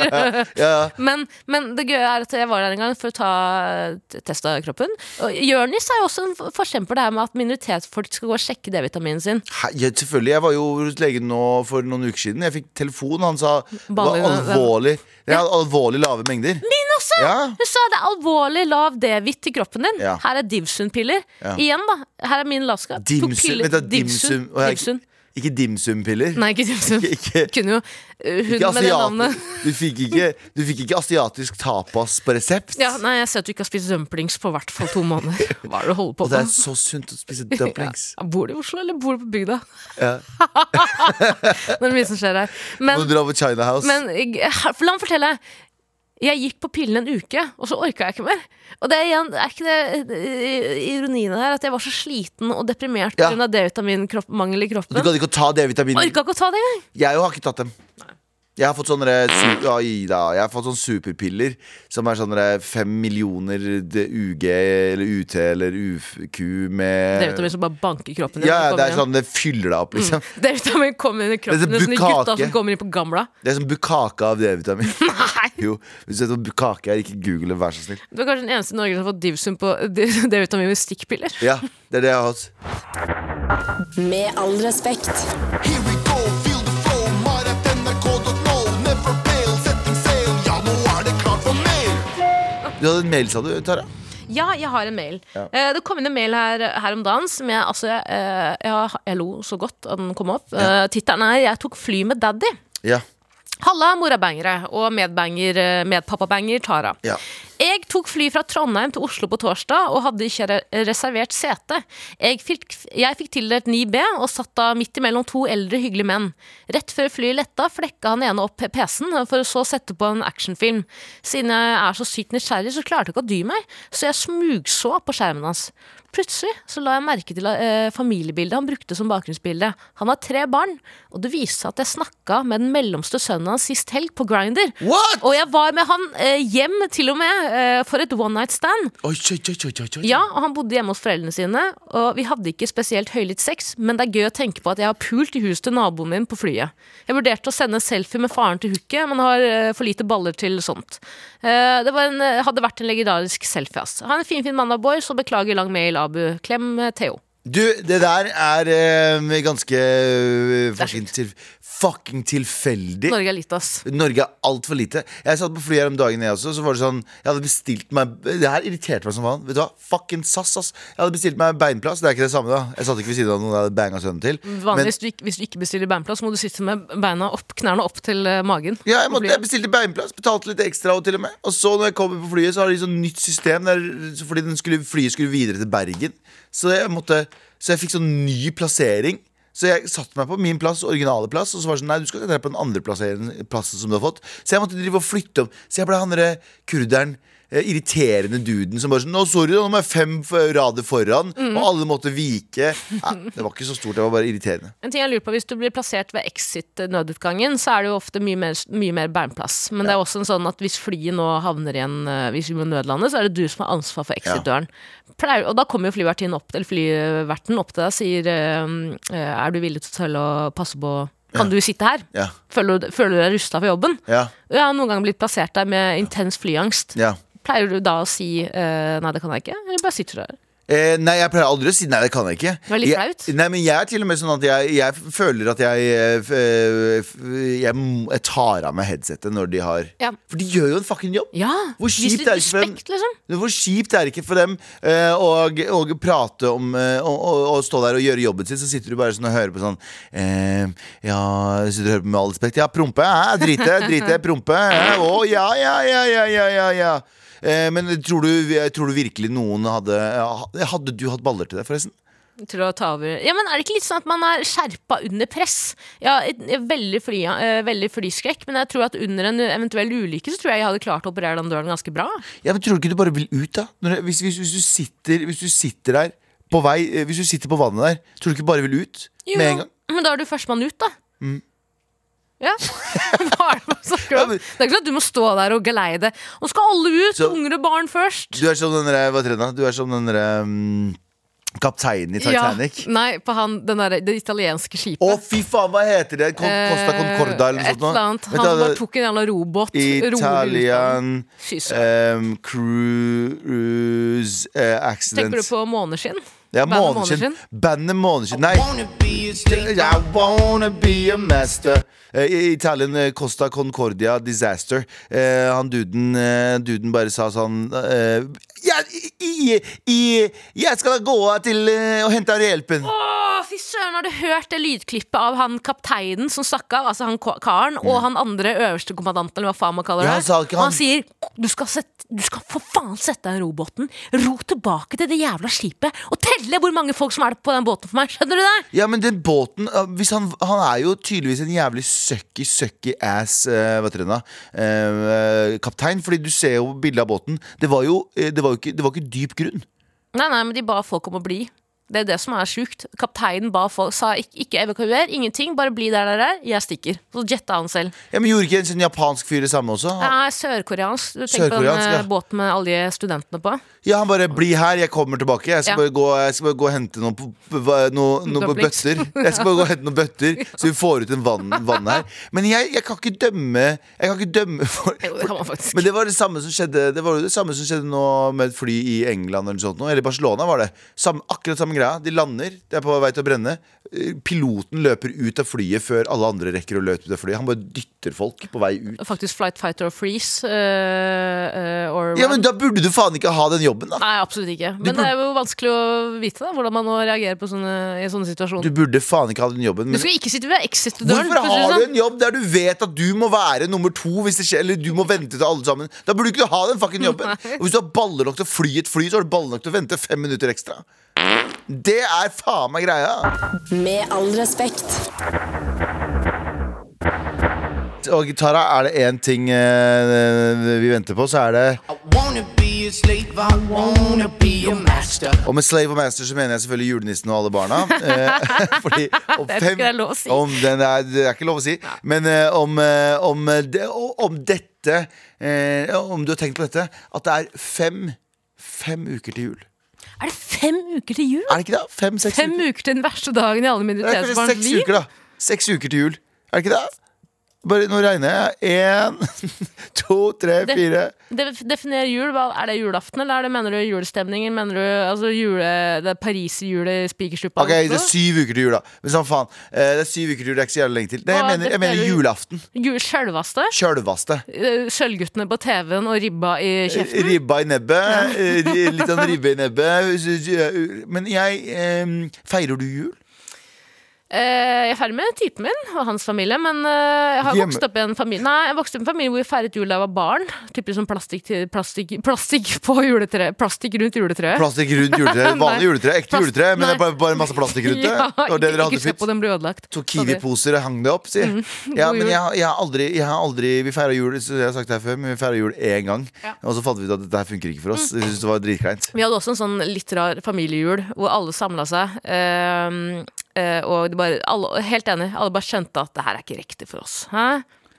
B: ja,
A: Men, men det gøye er at jeg var der en gang for å ta t- test av kroppen. Og Jonis er jo også en f- forkjemper det her med at minoritetsfolk skal gå og sjekke D-vitaminen sin.
B: Hei, ja, selvfølgelig. Jeg var jo hos legen nå for noen uker siden. Jeg fikk telefon. Han sa det var
A: Vanlig-
B: alvorlig Jeg hadde alvorlig lave mengder.
A: Min også!
B: Ja.
A: Hun sa det er alvorlig lav D-hvitt i kroppen din.
B: Ja.
A: Her er Divsun-piller.
B: Ja.
A: Igjen, da. Her er min lavskap. Tok
B: Dimsum.
A: piller-
B: Vent, da. Dimsum. Å, jeg-
A: Divsun.
B: Ikke dimsumpiller.
A: Nei, ikke Dimsun.
B: Ikke,
A: Kunne jo uh, hun
B: ikke
A: med det navnet.
B: asiat. Du fikk ikke, du fikk ikke asiatisk tapas på resept.
A: Ja, nei, jeg ser at du ikke har spist dumplings på hvert fall to måneder. Hva er det du holder på
B: Og det er
A: med?
B: så sunt å spise dumplings.
A: Ja, bor du i Oslo, eller bor du på bygda? det er mye som skjer her. Men
B: Må du dra på China House.
A: Men jeg- for la meg fortelle. Jeg gikk på pillen en uke, og så orka jeg ikke mer. Og det er, igjen, er ikke det eh, ironien her, at jeg var så sliten og deprimert
B: Ja.
A: pga. av D-vitaminmangel i
B: du
A: kroppen.
B: gadd ikke å ta D-vitamin.
A: Orka ikke å ta det engang!
B: Jeg har ikke tatt dem. Jeg har fått sånne, der su Ai da, jeg har fått sånne superpiller som er sånne der fem millioner d- UG eller UT eller UQ med
A: D-vitamin som bare banker kroppen din.
B: Ja, Eh. ja,
A: når du
B: det er
A: kommer
B: sånn, det fyller deg opp, liksom.
A: hjem. D-vitamin kommer inn i kroppen.
B: Det er
A: Det er sånn de gutta
B: bukake.
A: som kommer inn på gamla.
B: Det er som bukake av D-vitamin. Jo, hvis du vet hva bukake er, ikke google det, vær så snill.
A: Du er kanskje den eneste i Norge som har fått divsum på D-vitamin med stikkpiller.
B: Ja, det er det jeg har hatt.
E: Med all respekt.
F: Here we go, feel the flow. Mar.nrk.no. Never fail, setting sail. Ja, nå er det klart for mer.
B: Du hadde en mail, sa du, Tara?
A: Ja, jeg har en mail.
B: Ja.
A: Eh, det kom inn en mail her, her om dagen som jeg altså jeg, eh, jeg, jeg lo så godt av den kom opp. Eh, Tittelen er 'Jeg tok fly med daddy'.
B: Ja.
A: Halla, morabangere og medbanger, eh, medpappabanger Tara.
B: Ja.
A: Jeg tok fly fra Trondheim til Oslo på torsdag og hadde ikke re- reservert sete. Jeg fikk, jeg fikk tildelt 9B og satt da midt imellom to eldre, hyggelige menn. Rett før flyet letta, flekka han ene opp PC-en for å så sette på en actionfilm. Siden jeg er så sykt nysgjerrig, så klarte jeg ikke å dy meg, så jeg smugså på skjermen hans. Plutselig så la jeg merke til eh, familiebildet han brukte som bakgrunnsbilde. Han har tre barn, og det viste seg at jeg snakka med den mellomste sønnen hans sist helg på Grinder.
B: What?!
A: Og jeg var med han eh, hjem til og med eh, for et one night stand.
B: Oi, oi, oi, oi, oi, oi.
A: Ja, og Han bodde hjemme hos foreldrene sine, og vi hadde ikke spesielt høylytt sex, men det er gøy å tenke på at jeg har pult i huset til naboen min på flyet. Jeg vurderte å sende en selfie med faren til hooket, men har eh, for lite baller til sånt. Eh, Det var en, eh, hadde vært en legendarisk selfie, ass. Ha en finfin mandag, boy, så beklager lang mail, Abu. Klem eh, Theo.
B: Du, det der er eh, ganske eh, fucking, til, fucking tilfeldig.
A: Norge er lite, ass.
B: Norge er altfor lite. Jeg satt på flyet her om dagen, jeg også. Så var det sånn Jeg hadde bestilt meg Det her irriterte meg som faen. Vet du hva? Fucking SAS, ass. Jeg hadde bestilt meg beinplass. Det er ikke det samme, da. Jeg satt ikke ved siden av noen jeg hadde banga sønnen til. Men
A: Vanligvis du ikke- hvis du ikke bestiller beinplass, må du sitte med beina opp, knærne opp til eh, magen.
B: ja, jeg, måtte,
A: Flyet.
B: jeg bestilte beinplass, betalte litt ekstra og til og med. Og så når jeg kommer på flyet, så har de sånn nytt system der, fordi den skulle, flyet skulle videre til Bergen. Så jeg måtte Så jeg fikk sånn ny plassering. Så jeg satte meg på min plass, originale plass, og så var det sånn Nei, du skal sette deg på den andre plasseren, plassen som du har fått. Så jeg måtte drive og flytte om. Så jeg ble han derre kurderen. eh, Irriterende duden som bare sånn Nå, sorry, da, nå må jeg fem f- rader foran. Og alle måtte vike. Nei, det var ikke så stort, det var bare irriterende.
A: En ting jeg lurer på, Hvis du blir plassert ved exit-nødutgangen, så er det jo ofte mye mer, mye mer beinplass. Men det er også en sånn at hvis flyet nå havner igjen, eh, hvis vi må nødlande, så er det du som har ansvar for exit-døren. Pleier- Og da kommer jo flyvertinnen opp, eller flyverten opp til deg og sier eh, eh, Er du villig til å passe på Kan du sitte her?
B: Ja.
A: Føler, du- føler du deg rusta for jobben?
B: Ja.
A: Jeg har noen ganger blitt plassert der med intens flyangst.
B: ja.
A: Pleier du da å si eh, 'nei, det kan jeg ikke', eller bare sitter du der?
B: Eh, nei, jeg pleier aldri å si nei, det kan jeg ikke.
A: var litt
B: jeg,
A: flaut.
B: Nei, men jeg er til og med sånn at jeg, jeg føler at jeg eh, f- eh, f- jeg, må- jeg tar av meg headsetet når de har
A: Ja.
B: For de gjør jo en fucking jobb!
A: Ja!
B: Hvor
A: Vis
B: kjipt
A: litt
B: er det ikke for en-
A: respekt, liksom.
B: Men Hvor kjipt er det ikke for dem eh, å å prate om eh, å- å- å stå der og gjøre jobben sin, så sitter du bare sånn og hører på sånn eh, Ja, sitter og hører på med all respekt. Ja, prompe. Hæ? Drite. Drite. Prompe. hæ? Å, ja, ja, ja, ja, ja, ja. ja. Eh, men tror du, tror du virkelig noen hadde eh, Hadde du hatt baller til det, forresten?
A: til å ta over Ja, men Er det ikke litt sånn at man er skjerpa under press? Ja, et, et, veldig, fly, eh, veldig flyskrekk, men jeg tror at under en eventuell ulykke så tror jeg jeg hadde klart å operere den døren ganske bra.
B: Ja, men tror du ikke du bare vil ut da? Når, hvis, hvis, hvis, du sitter, hvis du sitter der på vei, eh, Hvis du sitter på vannet der Tror du ikke du bare vil ut?
A: Jo,
B: Med en gang Mm.
A: Men da er du førstemann ut, da. Ja. Hva er det man snakker
B: Ja,
A: om?
B: men-
A: Det er ikke sånn at du må stå der og geleide. Nå skal alle ut!
B: Så-
A: unger og barn først.
B: Du er som den der, hva heter den da? Du er som den der mm, Kapteinen i Titanic
A: Ja, nei, på han, den der, det italienske skipet.
B: Å fy faen, hva heter det? Con Costa Concorda eller noe
A: Eh, Et
B: sånt nå?
A: eller annet.
B: Vet
A: Han
B: du hva
A: bare
B: det-
A: tok en jævla robåt. rolig ut av den.
B: Italian
A: Fy søren.
B: um, Cruise eh, Accident
A: Tenker du på måneskinn?
B: Ja,
A: Bandet
B: måneskinn Bandet måneskinn Nei
D: Wanna be a slave,
B: I wanna be a master Eh, I Italien eh, Costa Concordia Disaster Eh, Han duden, eh, duden bare sa sånn eh, jeg, i, i, jeg skal gå til eh, og hente hjelpen
A: Å, fy søren, har du hørt det lydklippet av han kapteinen som stakk av? Altså han ko- karen, og han andre øverste kommandanten, eller hva faen man kaller
B: Mm. Ja, han
A: det.
B: sa ikke
A: Og han
B: han-
A: sier du skal, sette, du skal for faen sette deg i robåten, ro tilbake til det jævla skipet, og telle hvor mange folk som er på den båten for meg. Skjønner du det?
B: Ja, men den båten eh, hvis han, han er jo tydeligvis en jævlig sucky, sucky ass eh, Hva heter den da? Eh, eh, kaptein, fordi du ser jo bildet av båten Det var jo, eh, det var jo ikke, det var ikke dyp grunn
A: Nei, nei, men de ba folk om å bli. Det er det som er sjukt. Kapteinen ba folk, sa ikke, ikke evakuer, ingenting, bare bli der dere er, jeg stikker. Så jetta han selv.
B: Ja, men gjorde ikke en sånn japansk fyr det samme også? Han,
A: Nei, sørkoreansk. Du tenker på den
B: Sørkoreansk,
A: eh,
B: ja.
A: båten med alle de studentene på.
B: Ja, han bare 'bli her, jeg kommer tilbake'. Jeg skal,
A: Ja.
B: bare, gå, jeg skal bare gå og hente noen, på- på- hva- noen, noen på
A: Dumplings.
B: bøtter. Jeg skal bare gå og hente noen bøtter, så vi får ut en vann, vann her. Men jeg, jeg kan ikke dømme Jeg kan ikke dømme for
A: Jo, det kan man faktisk.
B: men det var det samme som skjedde Det var jo det samme som skjedde nå med et fly i England eller noe sånt nå, Eller Barcelona var det samme, Akkurat samme greia De lander, det er på vei til å brenne Eh, Piloten løper ut av flyet før alle andre rekker å løpe ut av flyet Han bare dytter folk på vei ut
A: faktisk flight, fight or freeze. eh, eh, or
B: Ja, men
A: run.
B: da burde du faen ikke ha den jobben da
A: Nei, absolutt ikke. Men det
B: burde-
A: er jo vanskelig å vite da, hvordan man nå reagerer på sånne, i sånne situasjoner.
B: Du burde faen ikke ha den jobben
A: Du
B: men-
A: skal ikke sitte ved exit-døren.
B: Hvorfor
A: for å si det
B: har du
A: sånn.
B: en jobb der du vet at du må være nummer to hvis det skjer, eller du må vente til alle sammen? Da burde du ikke ha den fucking jobben.
A: Nei.
B: Og hvis du har baller nok til å fly et fly, så har du baller nok til å vente fem minutter ekstra. Det er faen meg greia.
E: Med all respekt.
B: Og Tara, er det én ting eh, vi venter på, så er det
D: I wanna be a slave, I wanna be a master.
B: Og med Slave og Master så mener jeg selvfølgelig julenissen og alle barna. Eh, Fordi om
A: Det er ikke
B: fem
A: det er lov å si.
B: Om den er, det er ikke lov å si. Men eh, om, eh, om, eh, det, om dette dette eh, Om du har tenkt på dette At det er fem Fem uker til jul
A: Er det fem uker til jul?
B: Er det ikke det? Fem, seks
A: Fem
B: uker
A: uker til den verste dagen i alle
B: Det er kanskje
A: minoritetsbarns
B: seks
A: liv?
B: uker da Seks uker til jul Er det ikke det? Bare, nå regner jeg En, to, tre,
A: Det-
B: fire
A: Def- Definer jul. Hva, er det julaften, eller er det, mener du julestemninger? Mener du altså, jule, det pariserhjulet i Spikersuppa?
B: Ok, det er syv uker til jul da Men sånn faen eh, Det er syv uker til jul, det er ikke så jævlig lenge til Nei, jeg
A: Hva
B: mener, jeg mener
A: definerer du-
B: julaften
A: Ju- Sjølvaste?
B: Kjølvaste
A: Eh, Sølvguttene på TV-en og ribba i kjeften?
B: Ribba i nebbet eh, Litt sånn ribbe i nebbet eh, Men jeg em, Feirer du jul?
A: Eh, jeg er ferdig med typen min og hans familie, men eh, jeg har
B: Hjemme.
A: vokst opp i en familie Nei, jeg vokste opp i en familie hvor vi feiret jul da jeg var barn. Typisk sånn plastikk, til- plastikk, plastikk på juletreet. Plastikk rundt juletreet.
B: Plastikk rundt juletre Vanlig juletre, ekte
A: Plast-
B: juletre Men det er
A: nei.
B: bare, bare masse plastikk rundt det
A: Ja,
B: Det var det dere
A: ikke,
B: hadde
A: ikke se
B: fint
A: på den blir ødelagt.
B: To
A: Sorry.
B: kiwi-poser og hang det opp, sier jeg. Ja,
A: god
B: men
A: jul.
B: jeg, jeg har aldri, jeg har aldri Vi feira jul så jeg har sagt det her før, men vi feiret jul én gang.
A: Ja. Mm.
B: Og så fant vi ut at dette her funker ikke for oss. Vi syntes det var dritkleint.
A: Vi hadde også en sånn litt rar familiejul hvor alle samla seg. ehm, eh, og det bare, alle, helt enig, alle bare skjønte at det her er ikke riktig for oss. Hæ?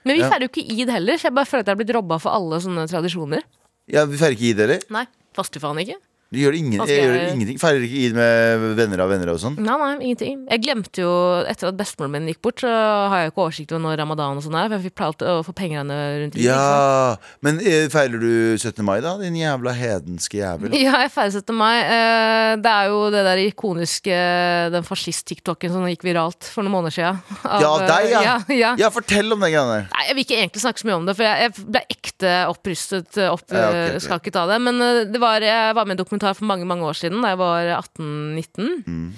A: Men vi
B: Ja.
A: feirer jo ikke id heller, så jeg bare føler at jeg har blitt robba for alle sånne tradisjoner.
B: Ja, vi feirer ikke id heller.
A: Nei, faste faen ikke.
B: Vi gjør ingen,
A: Hva skal
B: jeg gjør
A: jeg-
B: ingenting. Feirer ikke id med venner av venner og sånn.
A: Nei, nei, ingenting. Jeg glemte jo, etter at bestemoren min gikk bort, så har jeg ikke oversikt over når ramadan og sånn er, for jeg fikk pleie alltid å få penger av henne rundt jul, ikke sant?
B: Ja, Men eh, feirer du 17. mai, da? Din jævla hedenske jævel.
A: Ja, jeg ferdigsetter meg. Eh, Det er jo det der ikoniske eh, Den fascist-tiktoken som gikk viralt for noen måneder siden. Av,
B: Ja, deg, ja.
A: eh, ja, ja.
B: Ja, fortell om den greia der.
A: Nei, Jeg vil ikke egentlig snakke så mye om det, for jeg, jeg ble ekte opprystet. eh, Opp,
B: Ja, ok, ok.
A: Skaket av det. Men eh, det var, jeg var med i en dokumentar for mange mange år siden, da jeg var 18-19.
B: Mm.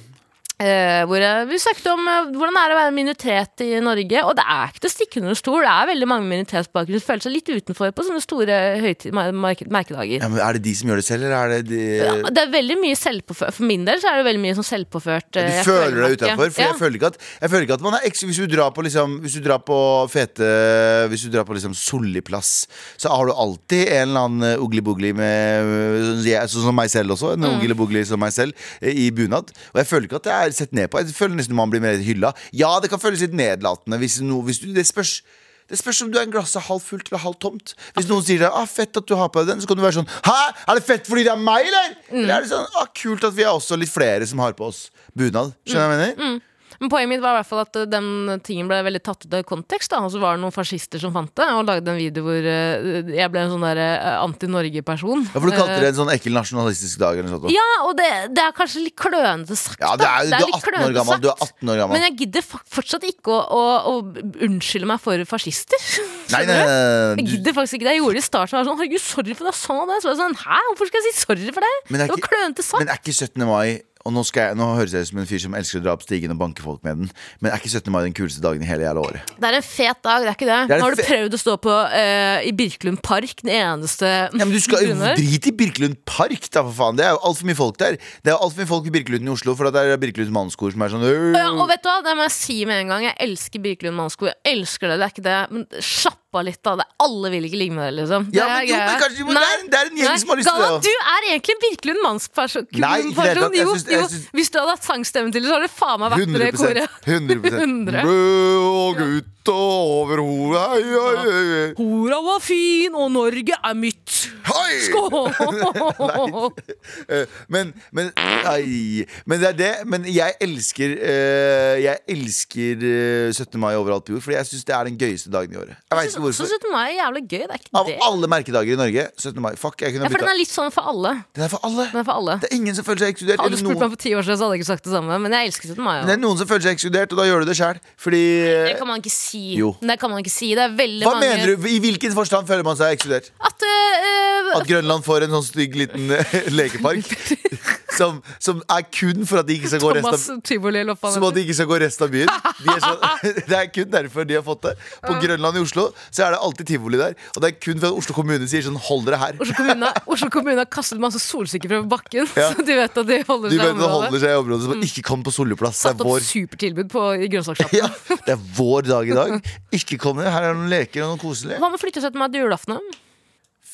A: Eh, hvor jeg, vi snakket om eh, hvordan det er å være minoritet i Norge. Og det er ikke til å stikke under stol. Det er veldig mange med minoritetsbakgrunn som føler seg litt utenfor på sånne store høytid, mer- merke- merkedager.
B: Ja, men Er det de som gjør det selv, eller er det de
A: Ja, Det er veldig mye selvpåført For min del så er det veldig mye sånn selvpåført.
B: Du
A: eh, jeg
B: føler deg
A: meg ikke.
B: utafor. For
A: Ja.
B: jeg føler ikke at, jeg føler ikke at man er eks Hvis du drar på liksom Hvis du drar på fete Hvis du drar på liksom Solliplass, så har du alltid en eller annen ugli-bugli med sånn som jeg- Sånn som meg selv også. En ugli-bugli som meg selv eh, i bunad. Og jeg føler ikke at jeg er sett ned på. Jeg føler nesten man blir mer hylla. Ja, det kan føles litt nedlatende hvis, no, hvis du Det spørs. Det spørs om du er en glasset halvt fullt eller halvt tomt. Hvis noen sier deg, ah, 'fett at du har på deg den', så kan du være sånn 'hæ, er det fett fordi det er meg', eller? Eller er det sånn ah, 'kult at vi er også litt flere som har på oss bunad'? Skjønner du hva jeg mener?
A: Men poenget mitt var i hvert fall at eh, den tingen ble veldig tatt ut av kontekst. da, Og så var det noen fascister som fant det, og lagde en video hvor eh, jeg ble en sånn der eh, anti-Norge-person.
B: Ja, for du kalte
A: Eh,
B: det en sånn ekkel nasjonalistisk dag eller noe sånt.
A: ja, og det, det er kanskje litt klønete sagt.
B: Ja, det
A: da.
B: er, jo- du,
A: litt
B: er 18 år
A: klønete
B: gammel,
A: sagt.
B: du er 18 år gammel.
A: Men jeg gidder fa- fortsatt ikke å, å, å unnskylde meg for fascister.
B: Nei, nei,
A: Skjønner du?
B: nei, nei,
A: Jeg
B: du,
A: gidder faktisk ikke det. Jeg gjorde det i starten. Jeg var sånn, herregud, sorry for at jeg sa det. Så var jeg sånn, hæ, hvorfor skal jeg si sorry for det?
B: Men det er
A: det var
B: ikke-
A: klønete sagt.
B: men er ikke 17. mai og nå, skal jeg, nå høres jeg ut som en fyr som elsker å dra opp stigen og banke folk med den, men er ikke 17. mai den kuleste dagen i hele jævla året?
A: Det er en fet dag, det er ikke
B: Det
A: det?
B: er en
A: Nå har du
B: fe-
A: prøvd å stå på eh, i Birkelund Park, den eneste
B: Ja, men du skal
A: grunnen.
B: Drit i Birkelund Park, da, for faen. Det er jo altfor mye folk der. Det er jo altfor mye folk i Birkelund i Oslo, for at det er Birkelunds mannskor som er sånn øh.
A: ja, og vet du hva, det må jeg si med en gang. Jeg elsker Birkelund Mannsko. Jeg elsker det, det er ikke det. Men slappa litt, da. Det er, alle vil ikke ligge med deg, liksom.
B: Ja,
A: Det
B: men
A: er
B: jo, men
A: greia.
B: kanskje du må- det er en- det er en gjeng som har lyst til det,
A: Galvan,
B: da.
A: du er egentlig en Birkelund mannsperson.
B: Nei, ikke i det hele tatt. Jeg
A: Jo,
B: syns- jeg
A: jo.
B: syns-
A: Hvis du hadde hatt sangstemmen til det, så hadde du faen meg vært med i det
B: 100
A: koret.
B: 100
A: 100.
B: Brød og gutt og over hodet Hei, hei, hei,
A: Hora var fin, og Norge er mitt.
B: hei. Hei!
A: Skål!
B: Eh, Men, men, nei. men det er det. Men jeg elsker eh, Jeg elsker eh, 17. mai overalt på jord, fordi jeg syns det er den gøyeste dagen i året. Jeg vet ikke
A: Så
B: hvorfor.
A: syns du meg er jævlig gøy. Det er ikke
B: Av
A: det.
B: alle merkedager i Norge, 17. mai. Fuck, jeg kunne
A: Ja, for den
B: bytta.
A: er litt sånn for alle.
B: Den er for alle.
A: Den er for alle.
B: Det er ingen som føler seg ekskludert.
A: Hadde du
B: eller
A: spurt
B: noen-
A: meg for ti år siden, så hadde jeg ikke sagt det samme. Men jeg elsket den meg
B: Men det
A: også.
B: er noen som føler seg ekskludert, og da gjør du det sjøl. Fordi
A: Det kan man ikke si.
B: Jo.
A: Det kan man ikke si. Det er veldig
B: Hva
A: mange
B: mener du? I hvilken forstand føler man seg ekskludert?
A: At øh, øh,
B: At Grønland får en sånn stygg liten eh, lekepark som, som er kun for at de ikke skal gå resten av
A: Thomas Tivoli eller hva
B: Som
A: faen
B: at de ikke skal gå resten av byen. De er sånn, det er kun derfor de har fått det. På Grønland i Oslo så er det alltid tivoli der. Og det er kun for at Oslo kommune sier sånn hold dere her.
A: Oslo kommune, Oslo kommune har kastet masse solsikker fra bakken,
B: Ja.
A: så de vet at de holder
B: De
A: seg i
B: vet det
A: området. Mm.
B: holder seg i området som ikke kom på Solliplass. Det
A: Satt
B: er
A: opp
B: vår.
A: supertilbud på i grønnsakssjappen.
B: Ja, det er vår dag i dag. Ikke kom ned. Her er noen leker og noen koselige.
A: Hva med å flytte seg til meg til julaften? da?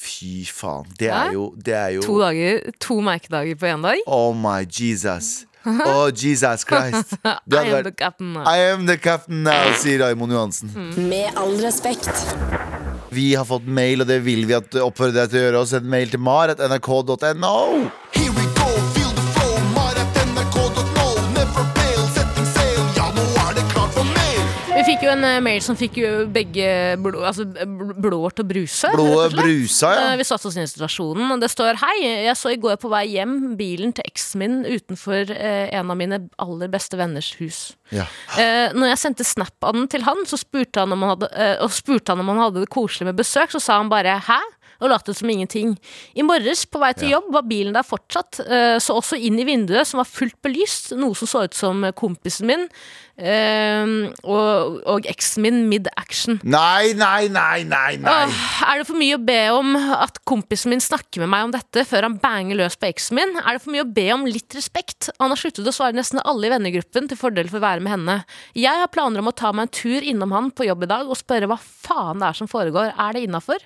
B: Fy faen. Det er jo, det er jo
A: To dager, to merkedager på én dag.
B: Oh my Jesus. Oh Jesus Christ. Det
A: I am
B: hadde
A: the
B: vært
A: captain.
B: I am the captain now, sier Raymond Johansen.
E: Med all respekt.
B: Vi har fått mail, og det vil vi at oppfordre deg til å gjøre. Og send mail til mar at nrk.no.
F: Here we go, feel the flow, mar at nrk.no. Never fail, setting sail, ja nå er det klart for mail.
A: Vi fikk jo en eh, mail som fikk jo begge blod, altså, bl- blodår til å bruse. rett og
B: Blodet
A: slett.
B: brusa, Ah, ja.
A: Eh, Vi satte oss inn i situasjonen, og det står Hei, jeg så i går på vei hjem bilen til eksen min utenfor eh, en av mine aller beste venners hus.
B: ja.
A: Eh, når jeg sendte snap av den til han, så spurte han, om han hadde, eh, og spurte han om han hadde det koselig med besøk, så sa han bare hæ? Og lot det som ingenting. I morges på vei til jobb var bilen der fortsatt, eh, så også inn i vinduet, som var fullt belyst, noe som så ut som kompisen min eh, og, og eksen min mid action.
B: Nei, nei, nei, nei, nei.
A: Åh, Er det for mye å be om at kompisen min snakker med meg om dette før han banger løs på eksen min? Er det for mye å be om litt respekt? Han har sluttet å svare nesten alle i vennegruppen til fordel for å være med henne. Jeg har planer om å ta meg en tur innom han på jobb i dag og spørre hva faen det er som foregår. Er det innafor?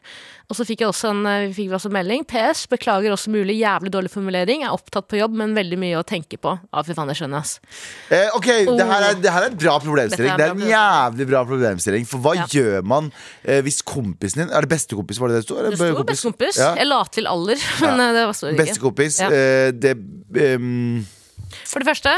A: Og så fikk jeg også en eh, fikk vi også en melding. PS. Beklager også mulig jævlig dårlig formulering. Jeg er opptatt på jobb, men veldig mye å tenke på. Ja, fy faen, det skjønner jeg, ass.
B: Eh, ok, det her, er, det her er en bra problemstilling.
A: Oh. Dette
B: Det
A: er
B: er
A: en
B: en
A: bra
B: jævlig bra problemstilling. For hva
A: Ja.
B: gjør man eh, hvis kompisen din Er det bestekompis? Var det det det sto? Eller
A: Det sto
B: bestekompis?
A: bestekompis.
B: Ja.
A: Jeg la til alder, men eh, det var så ikke.
B: Bestekompis.
A: Ja.
B: eh, det ehm,
A: For det første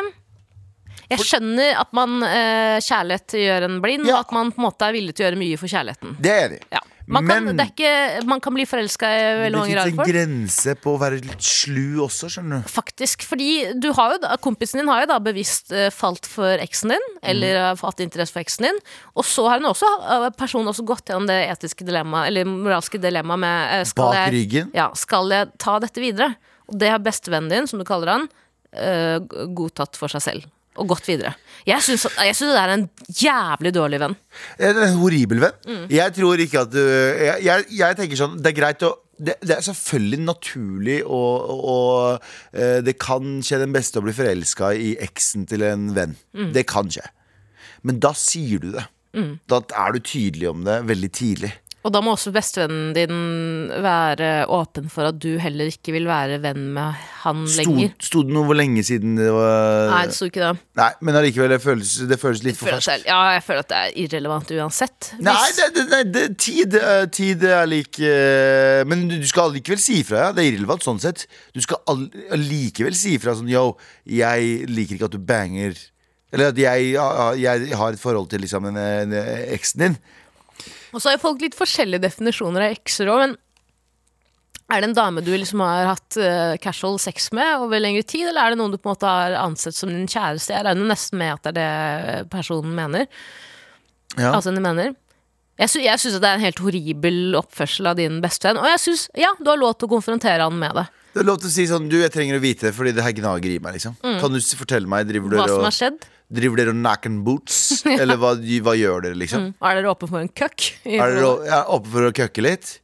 A: jeg skjønner at man eh, kjærlighet gjør en blind,
B: Ja.
A: og at man på en måte er villig til å gjøre mye for kjærligheten.
B: Det er vi.
A: Ja. Man, kan,
B: Men-
A: det er ikke, man kan bli forelska i
B: Det
A: veldig mange
B: fins
A: rare
B: en
A: folk.
B: grense på å være litt slu også, skjønner du.
A: Faktisk, fordi du har jo da, Kompisen din har jo da bevisst eh, falt for eksen din, eller
B: Mm.
A: har hatt interesse for eksen din. Og så har hun også, eh, personen også gått gjennom det etiske dilemmaet, eller moralske dilemmaet med eh, skal
B: Bak
A: jeg,
B: ryggen.
A: Ja, skal jeg ta dette videre? Og det har bestevennen din, som du kaller han, eh, g- godtatt for seg selv. Og gått videre. Jeg syns at- jeg syns det er en jævlig dårlig venn.
B: En en horribel venn. Jeg tror ikke at du jeg, jeg, jeg tenker sånn, det er greit å det, det er selvfølgelig naturlig og, og eh, det kan skje den beste å bli forelska i eksen til en venn. Det kan skje. Men da sier du det. Da er du tydelig om det veldig tidlig.
A: Og da må også bestevennen din være åpen for at du heller ikke vil være venn med han
B: Sto,
A: lenger.
B: sto det noe hvor lenge siden det var
A: Nei, det sto ikke det.
B: Nei, men allikevel, det føles, det føles litt for
A: føler at
B: ferskt.
A: det er, ja, jeg føler at det er irrelevant uansett. Hvis,
B: Nei, det, det, nei det, tid, eh, tid er lik eh, Men du skal allikevel si ifra. Ja. Det er irrelevant sånn sett. Du skal all- allikevel si ifra sånn yo, jeg liker ikke at du banger Eller at jeg, ja, jeg har et forhold til liksom en, en, eksen din.
A: Og så har jo folk litt forskjellige definisjoner av ekser òg, men er det en dame du liksom har hatt eh, casual sex med over lengre tid, eller er det noen du på en måte har ansett som din kjæreste? Jeg regner nesten med at det er det personen mener.
B: Ja.
A: Altså, de mener. Jeg, sy jeg syns det er en helt horribel oppførsel av din bestevenn, og jeg syns ja, du har lov til å konfrontere han med det.
B: Det er lov til å si sånn Du, jeg trenger å vite det, fordi det her gnager i meg. liksom Kan du s- fortelle meg Driver
A: Mm. Hva
B: dere
A: som har
B: og,
A: skjedd.
B: driver dere og nacken boots? Eller hva, hva gjør dere, liksom?
A: Mm. Er dere åpne for en køkk?
B: Er dere å- ja, oppe for å køkke litt?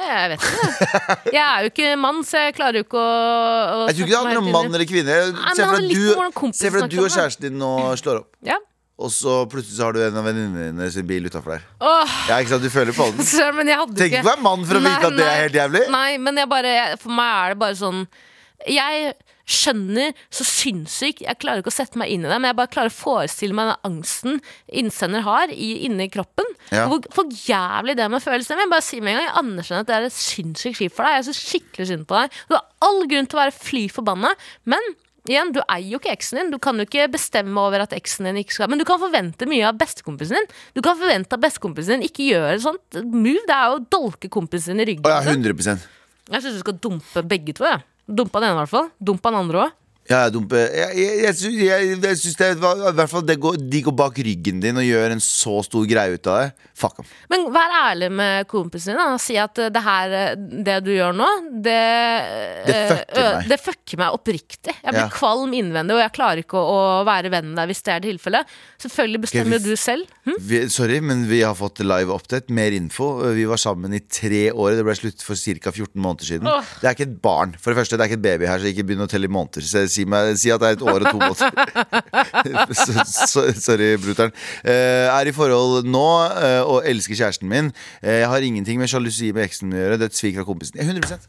A: Jeg vet ikke. det. Jeg er jo ikke mann, så jeg klarer jo ikke å, å
B: Jeg tror ikke det
A: snakke meg
B: handler om
A: helt inn
B: mann
A: i-
B: eller kvinne. Se
A: men det
B: for
A: handler
B: at
A: litt om hvordan
B: du,
A: kompisen
B: se for at du
A: snakker
B: og
A: om det.
B: kjæresten din nå slår opp,
A: Ja.
B: og så plutselig så har du en av venninnene dine sin bil utafor der.
A: Åh,
B: Ja, ikke sant? Du føler på den.
A: søren, men jeg hadde
B: Tenk
A: ikke
B: ikke å være mann for å vite at det er helt jævlig.
A: Nei, men jeg bare, for meg er det bare sånn Jeg skjønner så sinnssykt Jeg klarer ikke å sette meg inn i det, men jeg bare klarer å forestille meg den angsten innsender har i, inni kroppen.
B: Ja.
A: Og Hvor for jævlig det med følelser Men jeg bare sier med en gang, jeg anerkjenner at det er et sinnssykt kjipt for deg. Jeg synes skikkelig synd på deg. Du har all grunn til å være fly forbanna, men Igjen, Du eier jo ikke eksen din. Du kan jo ikke bestemme over at eksen din ikke skal Men du kan forvente mye av bestekompisen din. Du kan forvente at bestekompisen din ikke gjør et sånt move. Det er jo å dolke kompisen din i ryggen.
B: Å ja, 100
A: Jeg syns du skal dumpe begge to. jeg. Dumpe han ene, i hvert fall. Dumpe han andre òg.
B: Ja, jeg, dumper- jeg, jeg, jeg, sy- jeg, jeg syns det var i hvert fall det går, De går bak ryggen din og gjør en så stor greie ut av det. Fuck dem.
A: Men vær ærlig med kompisen din. da. Si at eh, det her, eh, det du gjør nå, det
B: Det
A: eh,
B: fucker
A: ø-
B: meg.
A: Det fucker meg oppriktig. Jeg blir
B: Ja.
A: kvalm innvendig, og jeg klarer ikke å, å være venn med deg hvis det er tilfellet. Selvfølgelig
B: vi-
A: bestemmer jo du selv. Hm?
B: Vi, sorry, men vi har fått live update. Mer info. Vi var sammen i tre år. Det ble slutt for ca. 14 måneder siden.
A: Åh.
B: Det er ikke et barn. For det første, det er ikke et baby her, så ikke begynn å telle i måneder. Så si, meg, si at det er et år og to måneder. så, så, sorry, bruteren. Eh, er i forhold nå eh, og elsker kjæresten min. Eh, jeg har ingenting med sjalusi med eksen å gjøre. Det er et svik fra kompisen. Ja, 100%,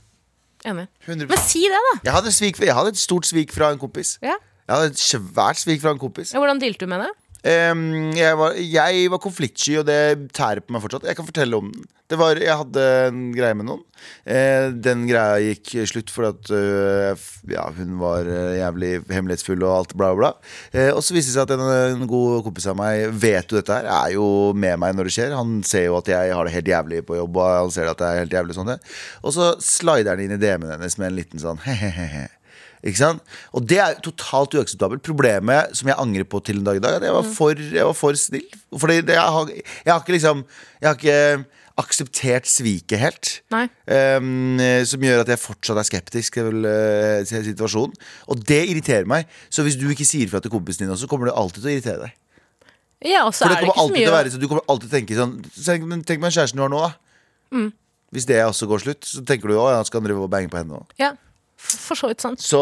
A: Enig.
B: 100%.
A: Men si det, da.
B: Jeg, hadde svik, jeg hadde et stort svik fra en kompis.
A: Ja.
B: Jeg hadde et svært svik fra en kompis.
A: Ja, hvordan dealte du med det?
B: Em, jeg, var, jeg var konfliktsky, og det tærer på meg fortsatt. Jeg kan fortelle om den. Det var, jeg hadde en greie med noen. Eh, den greia gikk slutt fordi at øh, f- ja, hun var øh, jævlig hemmelighetsfull og alt bla, bla. Eh, og så viste det seg at en, en god kompis av meg vet jo dette her. Er jo med meg når det skjer. Han ser jo at jeg har det helt jævlig på jobb, og han ser at jeg er helt jævlig sånn. det. Og så slider han inn i DM-en hennes med en liten sånn he-he-he. Ikke sant? Og det er totalt uakseptabelt. Problemet som jeg angrer på til en dag i dag, er at jeg var
A: Mm.
B: for, jeg var for snill. Fordi det, jeg, har, jeg har ikke liksom Jeg har ikke akseptert sviket helt.
A: Nei.
B: Ehm, som gjør at jeg fortsatt er skeptisk til eh, til situasjonen. Og det irriterer meg. Så hvis du ikke sier fra til kompisen din også, kommer det alltid til å irritere deg.
A: Ja, og så
B: For det
A: er det
B: kommer
A: ikke så
B: alltid til å
A: mye
B: være sånn, Du kommer alltid til å tenke sånn Tenk, men tenk meg kjæresten du har nå, da.
A: Mm.
B: Hvis det også går slutt, så tenker du å ja, skal han drive og bange på henne òg.
A: ja, For så vidt sant.
B: Så,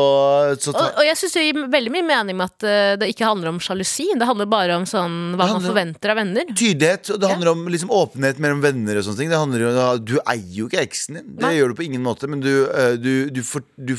B: så ta,
A: Og, og jeg syns det gir veldig mye mening med at eh, det ikke handler om sjalusi. Det handler bare om sånn,
B: Det
A: hva man
B: handler-
A: forventer av venner.
B: Tydelighet, og det handler om liksom, åpenhet mellom venner. og sånne ting Det handler jo om, Du eier jo ikke eksen din. Det
A: Nei.
B: gjør du på ingen måte, men du, eh, du, du, for, du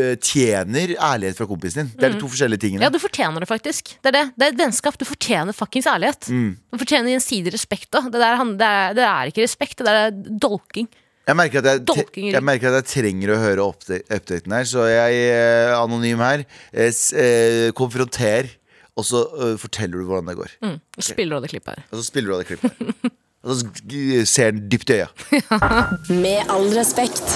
B: fortjener ærlighet fra kompisen din. Det er de to forskjellige tingene.
A: Mm. Ja, du fortjener det faktisk. Det er det. Det er et vennskap. Du fortjener fuckings ærlighet.
B: Mm.
A: Du fortjener gjensidig respekt òg. Det, der han- det, er- det er ikke respekt, det der er dolking.
B: Jeg merker, at jeg, te-
A: Dolking i ryggen.
B: jeg merker at jeg trenger å høre upda- updaten her, så jeg, eh, anonym her, eh, s- eh, konfronter, og så eh, forteller du hvordan det går.
A: Mm. Spiller du det klippet her?
B: Og så spiller du av det klippet. her. og så g- ser den dypt i øya.
E: Med all respekt.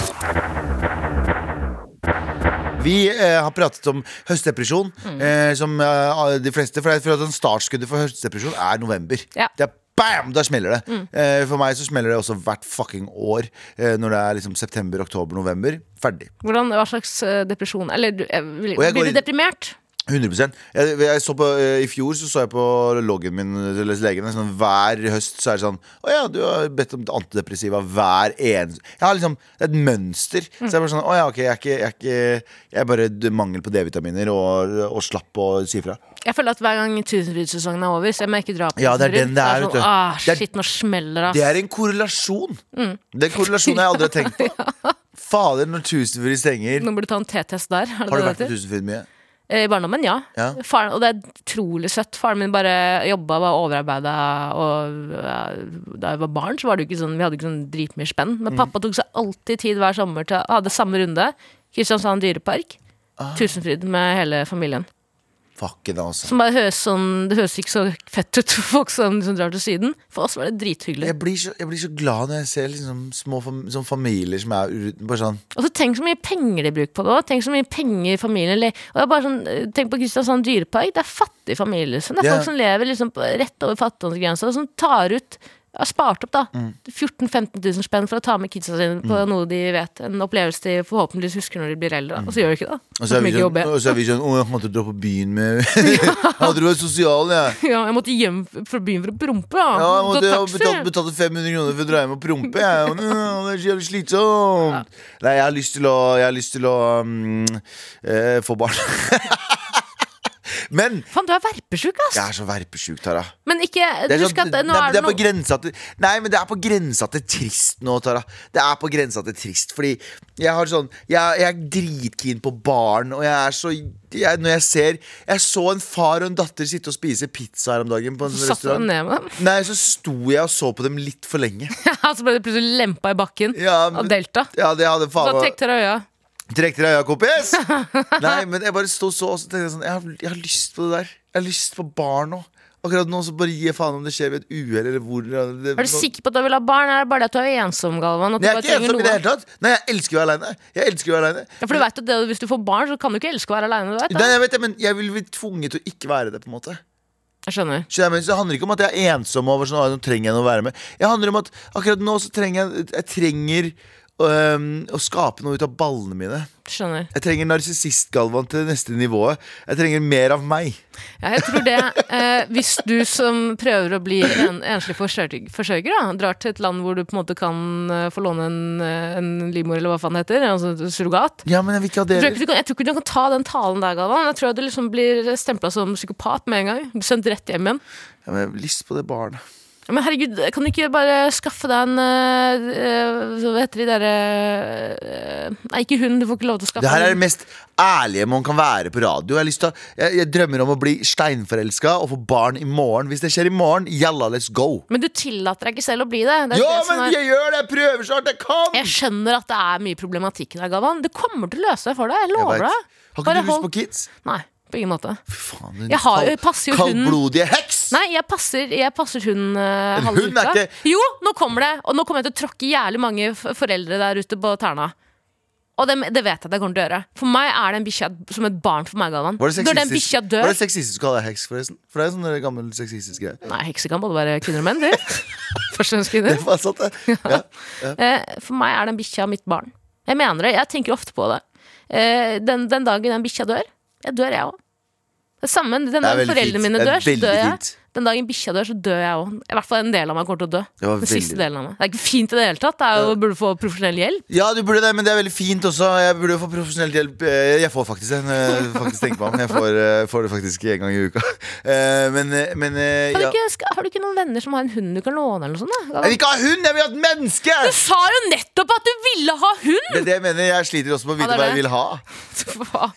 B: Vi eh, har pratet om høstdepresjon, eh, som eh, de fleste. For jeg føler at en startskuddet for høstdepresjon er november.
A: Ja.
B: Det er bam, da smeller det. Eh, for meg så smeller det også hvert fucking år eh, når det er liksom september, oktober, november. Ferdig.
A: Hvordan, hva slags eh, depresjon Eller du, eh, vil-
B: Og jeg går
A: blir du
B: i-
A: deprimert?
B: 100 jeg, jeg så på, eh, I fjor så så jeg på loggen min til legen. Sånn, hver høst så er det sånn Å ja, du har bedt om antidepressiva hver eneste Jeg har liksom det er et mønster. Så jeg er bare sånn Å ja, ok, jeg er ikke Jeg er, ikke, jeg er bare d- mangel på D-vitaminer og, og slapp å si fra.
A: Jeg føler at hver gang tusenfryd-sesongen er over, så jeg må ikke dra på
B: Ja, det er
A: Tusenfryd,
B: den det er, vet du.
A: sånn, ah,
B: Det er-
A: shit, nå smeller det, ass.
B: Det er en korrelasjon.
A: Mm.
B: Det er en korrelasjon jeg aldri har tenkt på. Fader, når tusenfryd stenger
A: Nå burde du ta en T-test der.
B: Har
A: er det det
B: du
A: det
B: vært
A: heter?
B: på tusenfryd mye?
A: Eh, I barndommen, ja.
B: Ja.
A: Faren, og det er utrolig søtt. Faren min bare jobba, var overarbeida, og ja, da jeg var barn, så var det jo ikke sånn, vi hadde ikke sånn dritmye spenn. Men pappa tok seg alltid tid hver sommer til hadde samme runde. Kristiansand dyrepark. Tusenfryd med hele familien.
B: Fucken, altså.
A: Som bare høres sånn, Det høres ikke så fett ut for folk som, som drar til Syden. For oss var det drithyggelig.
B: Jeg blir, så, jeg blir så glad når jeg ser liksom små fam sånn familier som er uten Bare sånn
A: Og så tenk så mye penger de bruker på det òg. Tenk så mye penger familien le og jeg bare sånn, eh, Tenk på Kristiansand dyrepark. Det er fattige familier. liksom. Det er
B: Ja.
A: folk som lever liksom på- rett over fattigdomsgrensa, og som tar ut har spart opp da
B: Mm.
A: 14 000-15 000 spenn for å ta med kidsa sine på noe de vet. En opplevelse de forhåpentligvis husker når de blir eldre. da. Og så gjør de ikke det.
B: Mm. Og så er
A: Som
B: vi
A: ikke
B: sånn,
A: jobber.
B: og så er vi sånn Å, jeg måtte dra på byen med Jeg måtte være sosial, jeg.
A: Ja, jeg måtte hjem fra byen for å prompe. da.
B: Ja, jeg måtte
A: Ta
B: jeg
A: taxi.
B: betalte, betalte 500 kroner for å dra hjem og prompe. Jeg. Å, Det er så jævlig slitsomt. Nei, jeg har lyst til å, jeg har lyst til å mm, eh, få barn. Men
A: Faen, du er verpesjuk, ass!
B: jeg er så verpesjuk, Tara.
A: Men ikke
B: Det er,
A: Husk
B: sånn,
A: at eh, nå
B: det,
A: er
B: det
A: det
B: er på
A: noe
B: grensa til Nei, men det er på grensa til trist nå, Tara. Det er på grensa til trist, fordi jeg har sånn Jeg, jeg er dritkeen på barn, og jeg er så jeg, Når jeg ser Jeg så en far og en datter sitte og spise pizza her om dagen på en sånn
A: Satt deg
B: restaurant.
A: ned med dem.
B: Nei, så sto jeg og så på dem litt for lenge.
A: Så ble du plutselig lempa i bakken
B: Ja, men-
A: av Delta.
B: Ja, det hadde
A: Så
B: faen meg-
A: trekk til deg øya.
B: Trekk til deg øya, kompis! Nei, men jeg bare sto så og så tenkte jeg sånn jeg har, jeg har lyst på det der. Jeg har lyst på barn nå. Akkurat nå så bare gir jeg faen om det skjer ved et uhell eller hvor det,
A: Er du sikker på at du vil ha barn? Er det bare det at du er ensom, Galvan? At du
B: Nei, jeg er
A: bare
B: ikke ensom
A: trenger
B: i det
A: noen?
B: hele tatt. Nei, jeg elsker å være aleine. Jeg elsker å være alene.
A: Ja, for du vet at det, Hvis du får barn, så kan du ikke elske å være aleine. Du vet,
B: Nei,
A: det.
B: jeg vet det, men jeg vil bli tvunget til å ikke være det, på en måte.
A: jeg skjønner.
B: Skjønner jeg, men Det handler ikke om at jeg er ensom og over sånn, «Å, nå trenger jeg noe å være med. Jeg handler om at akkurat nå så trenger jeg Jeg trenger øhm, å skape noe ut av ballene mine.
A: skjønner.
B: Jeg trenger narsissist-Galvan til det neste nivået. Jeg trenger mer av meg.
A: Ja, jeg tror det eh, Hvis du som prøver å bli en, enslig forsørger, forsørger da, drar til et land hvor du på en måte kan eh, få låne en, eh, en livmor, eller hva faen det heter, altså et surrogat
B: Ja, men jeg vil ikke ha det
A: jeg tror, ikke du kan, jeg tror ikke du kan ta den talen der, Galvan. Jeg tror at du liksom blir stempla som psykopat med en gang. Sendt rett hjem igjen.
B: Ja, men jeg har lyst på det barnet.
A: Men herregud, kan du ikke bare skaffe deg en eh, eh, Hva heter de derre Nei, ikke hun. Du får ikke lov til å skaffe
B: Det her er
A: en-
B: det mest ærlige man kan være på radio. Jeg, har lyst til å, jeg, jeg drømmer om å bli steinforelska og få barn i morgen. Hvis det skjer i morgen, jalla, let's go.
A: Men du tillater deg ikke selv å bli det. det, er
B: Ja,
A: det som
B: men
A: er-
B: jeg gjør det! Jeg prøver så hardt jeg kan!
A: Jeg skjønner at det er mye problematikk der, Galvan. Det kommer til å løse seg for deg. Jeg
B: Jeg
A: lover
B: vet.
A: deg.
B: Har ikke du
A: Bare
B: lyst
A: hold-
B: på kids?
A: Nei, på ingen måte.
B: Fy faen, din
A: Jeg har-
B: kald-
A: passer jo hunden.
B: Kaldblodige heks!
A: Nei, jeg passer, jeg passer hun uh,
B: Men
A: halve
B: hun er
A: uka.
B: ikke-
A: Jo, nå kommer det! Og nå kommer jeg til å tråkke jævlig mange f- foreldre der ute på tærne. Og det, det vet jeg at jeg kommer til å gjøre. For meg er den bikkja som et barn for meg, Galvan.
B: Var det
A: Når den
B: sexistisk
A: bikkja dør
B: Var det sexistisk å kalle deg heks, forresten? For det er sånn gammel sexistisk greie.
A: Nei, hekser kan både være kvinner og menn, det. Førstehåndskvinner.
B: Hva satt det? Ja.
A: Eh, For meg er den bikkja mitt barn. Jeg mener det, jeg tenker ofte på det. Eh, Den, den dagen den bikkja dør, jeg dør jeg òg. Den dagen
B: veldig fint.
A: foreldrene mine
B: Det er
A: dør, så
B: veldig
A: dør jeg.
B: fint.
A: Den dagen bikkja dør, så dør jeg òg. I hvert fall en del av meg kommer til å dø.
B: Det var
A: Den siste
B: veldig-
A: delen av meg. Det er ikke fint i det hele tatt. Det er jo, burde få profesjonell hjelp.
B: ja, du burde det, men det er veldig fint også. Jeg burde jo få profesjonell hjelp. Eh, Jeg får faktisk det. når jeg Faktisk tenker meg om. Jeg får, eh, får det faktisk en gang i uka. Eh, Men, eh, men eh,
A: Har du,
B: ja.
A: ikke, skal, har du ikke noen venner som har en hund du kan låne? eller noe sånt da?
B: Jeg vil ikke ha hund! Jeg vil ha et menneske!
A: Du sa jo nettopp at du ville ha hund!
B: Det er det jeg mener. Jeg sliter også med å
A: Ja,
B: vite
A: det er
B: hva
A: det.
B: jeg vil ha.
A: Hva?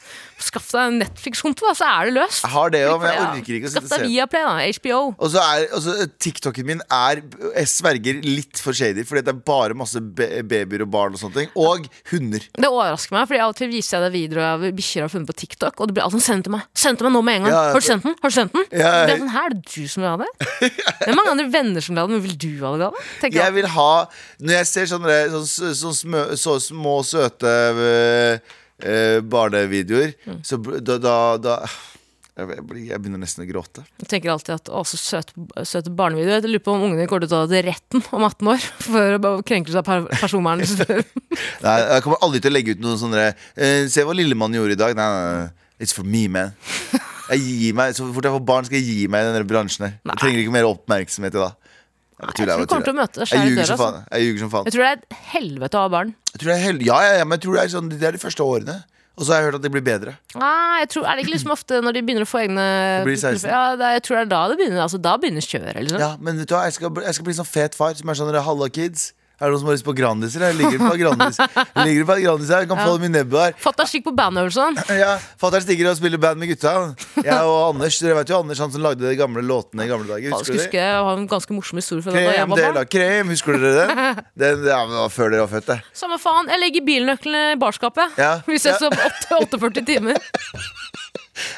A: Skaff deg en Netflix-konto, da, så er det løst.
B: Jeg har det jo, men jeg
A: Ja.
B: orker ikke å sitte
A: Skaff
B: og se
A: deg Viaplay, da. HBO.
B: Og så er, altså, TikToken min er Jeg sverger litt for shady, fordi det er bare masse be babyer og barn og sånne ting. Og hunder.
A: Det overrasker meg, fordi av og til viser jeg deg videoer av bikkjer jeg har funnet på TikTok, og det blir alltid sendt til meg. Send til meg nå med en gang.
B: Ja, jeg-
A: har du sendt den? Har du sendt den?
B: Ja, jeg-
A: Det er sånn her, er det du som vil ha det? Det er mange andre venner som vil ha det, men vil du ha det, Gave? Tenker
B: Jeg
A: jeg.
B: vil ha Når jeg ser sånne, sånne, sånne smø, så små, søte øh, øh, barnevideoer, så bl- da, da, da jeg, jeg blir- jeg begynner nesten å gråte.
A: jeg tenker alltid at å, så søte, søte barnevideoer. Jeg lurer på om ungene kommer til å ta det til retten om 18 år for krenkelse av per- personvern.
B: Nei, jeg kommer aldri til å legge ut noen sånne eh, Se hva Lillemann gjorde i dag. Nei, nei, nei. It's for me, man. Jeg gir meg, Så fort jeg får barn, skal jeg gi meg i denne bransjen her. Jeg trenger ikke mer oppmerksomhet i dag. Jeg
A: jeg
B: tuller,
A: tror du kommer til å møte deg
B: jeg
A: selv i
B: ljuger
A: døra.
B: som
A: Altså.
B: faen. Jeg ljuger som faen.
A: Jeg tror det er et helvete å ha barn.
B: Jeg tror det er hel- ja, ja, ja, men jeg tror det er, sånn, det er de første årene. Og så har jeg hørt at det blir bedre.
A: Nei, jeg tror, er det ikke liksom ofte når de begynner å få egne
B: Det blir 16.
A: Ja, det, er- jeg tror det er da det begynner. Altså, da begynner kjøret, liksom.
B: Ja, men vet du hva, jeg skal, bli- jeg skal bli sånn fet far som er sånn Halla, kids. Er det noen som har lyst på Grandis? Eller? Jeg ligger på Grandis. Jeg ligger på Grandis her, jeg kan få dem i nebbet her.
A: Fatt deg skikk på bandøvelsene.
B: Ja, Fatter'n stikker og spiller band med gutta. Jeg og Anders, Dere vet jo Anders han som lagde de gamle låtene i gamle dager. Husker
A: Husker husker
B: dere?
A: jeg har en ganske morsom historie fra da jeg
B: Krem,
A: var
B: del
A: barn.
B: av krem, husker dere den? den ja, men det var før dere var født, det.
A: Samme faen, jeg legger bilnøklene i barskapet.
B: Ja.
A: Vi ses om 8 48 timer.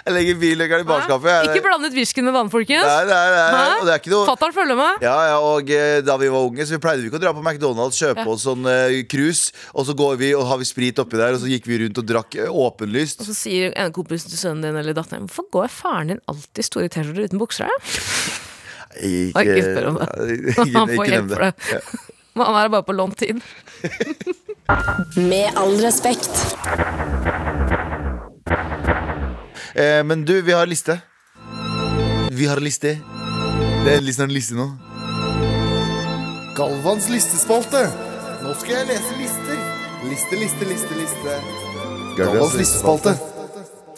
B: Jeg legger billøkeren i barskapet. jeg.
A: Ikke blandet whiskyen med vann, folkens.
B: Nei, nei, nei, nei.
A: Hæ?
B: Og det er ikke noe
A: Fatter'n følger med.
B: Ja, ja, og eh, da vi var unge, så vi pleide vi ikke å dra på McDonald's, kjøpe oss sånn eh, krus, og så går vi og har vi sprit oppi der, og så gikk vi rundt og drakk eh, åpenlyst.
A: Så sier en kompis til sønnen din eller datteren Hvorfor går faren din alltid i store T-skjorter uten bukser? her?
B: Ikke,
A: Nei, ikke spør om det.
B: Ikke, ikke,
A: Han får
B: nevn
A: hjelp for det. Men Han er bare på lånt tid.
E: Med all respekt.
B: Eh, men du, vi har liste. Vi har liste. Det er liksom en liste nå.
F: Galvans listespalte. Nå skal jeg lese lister. Liste, liste, liste, liste. Galvans listespalte.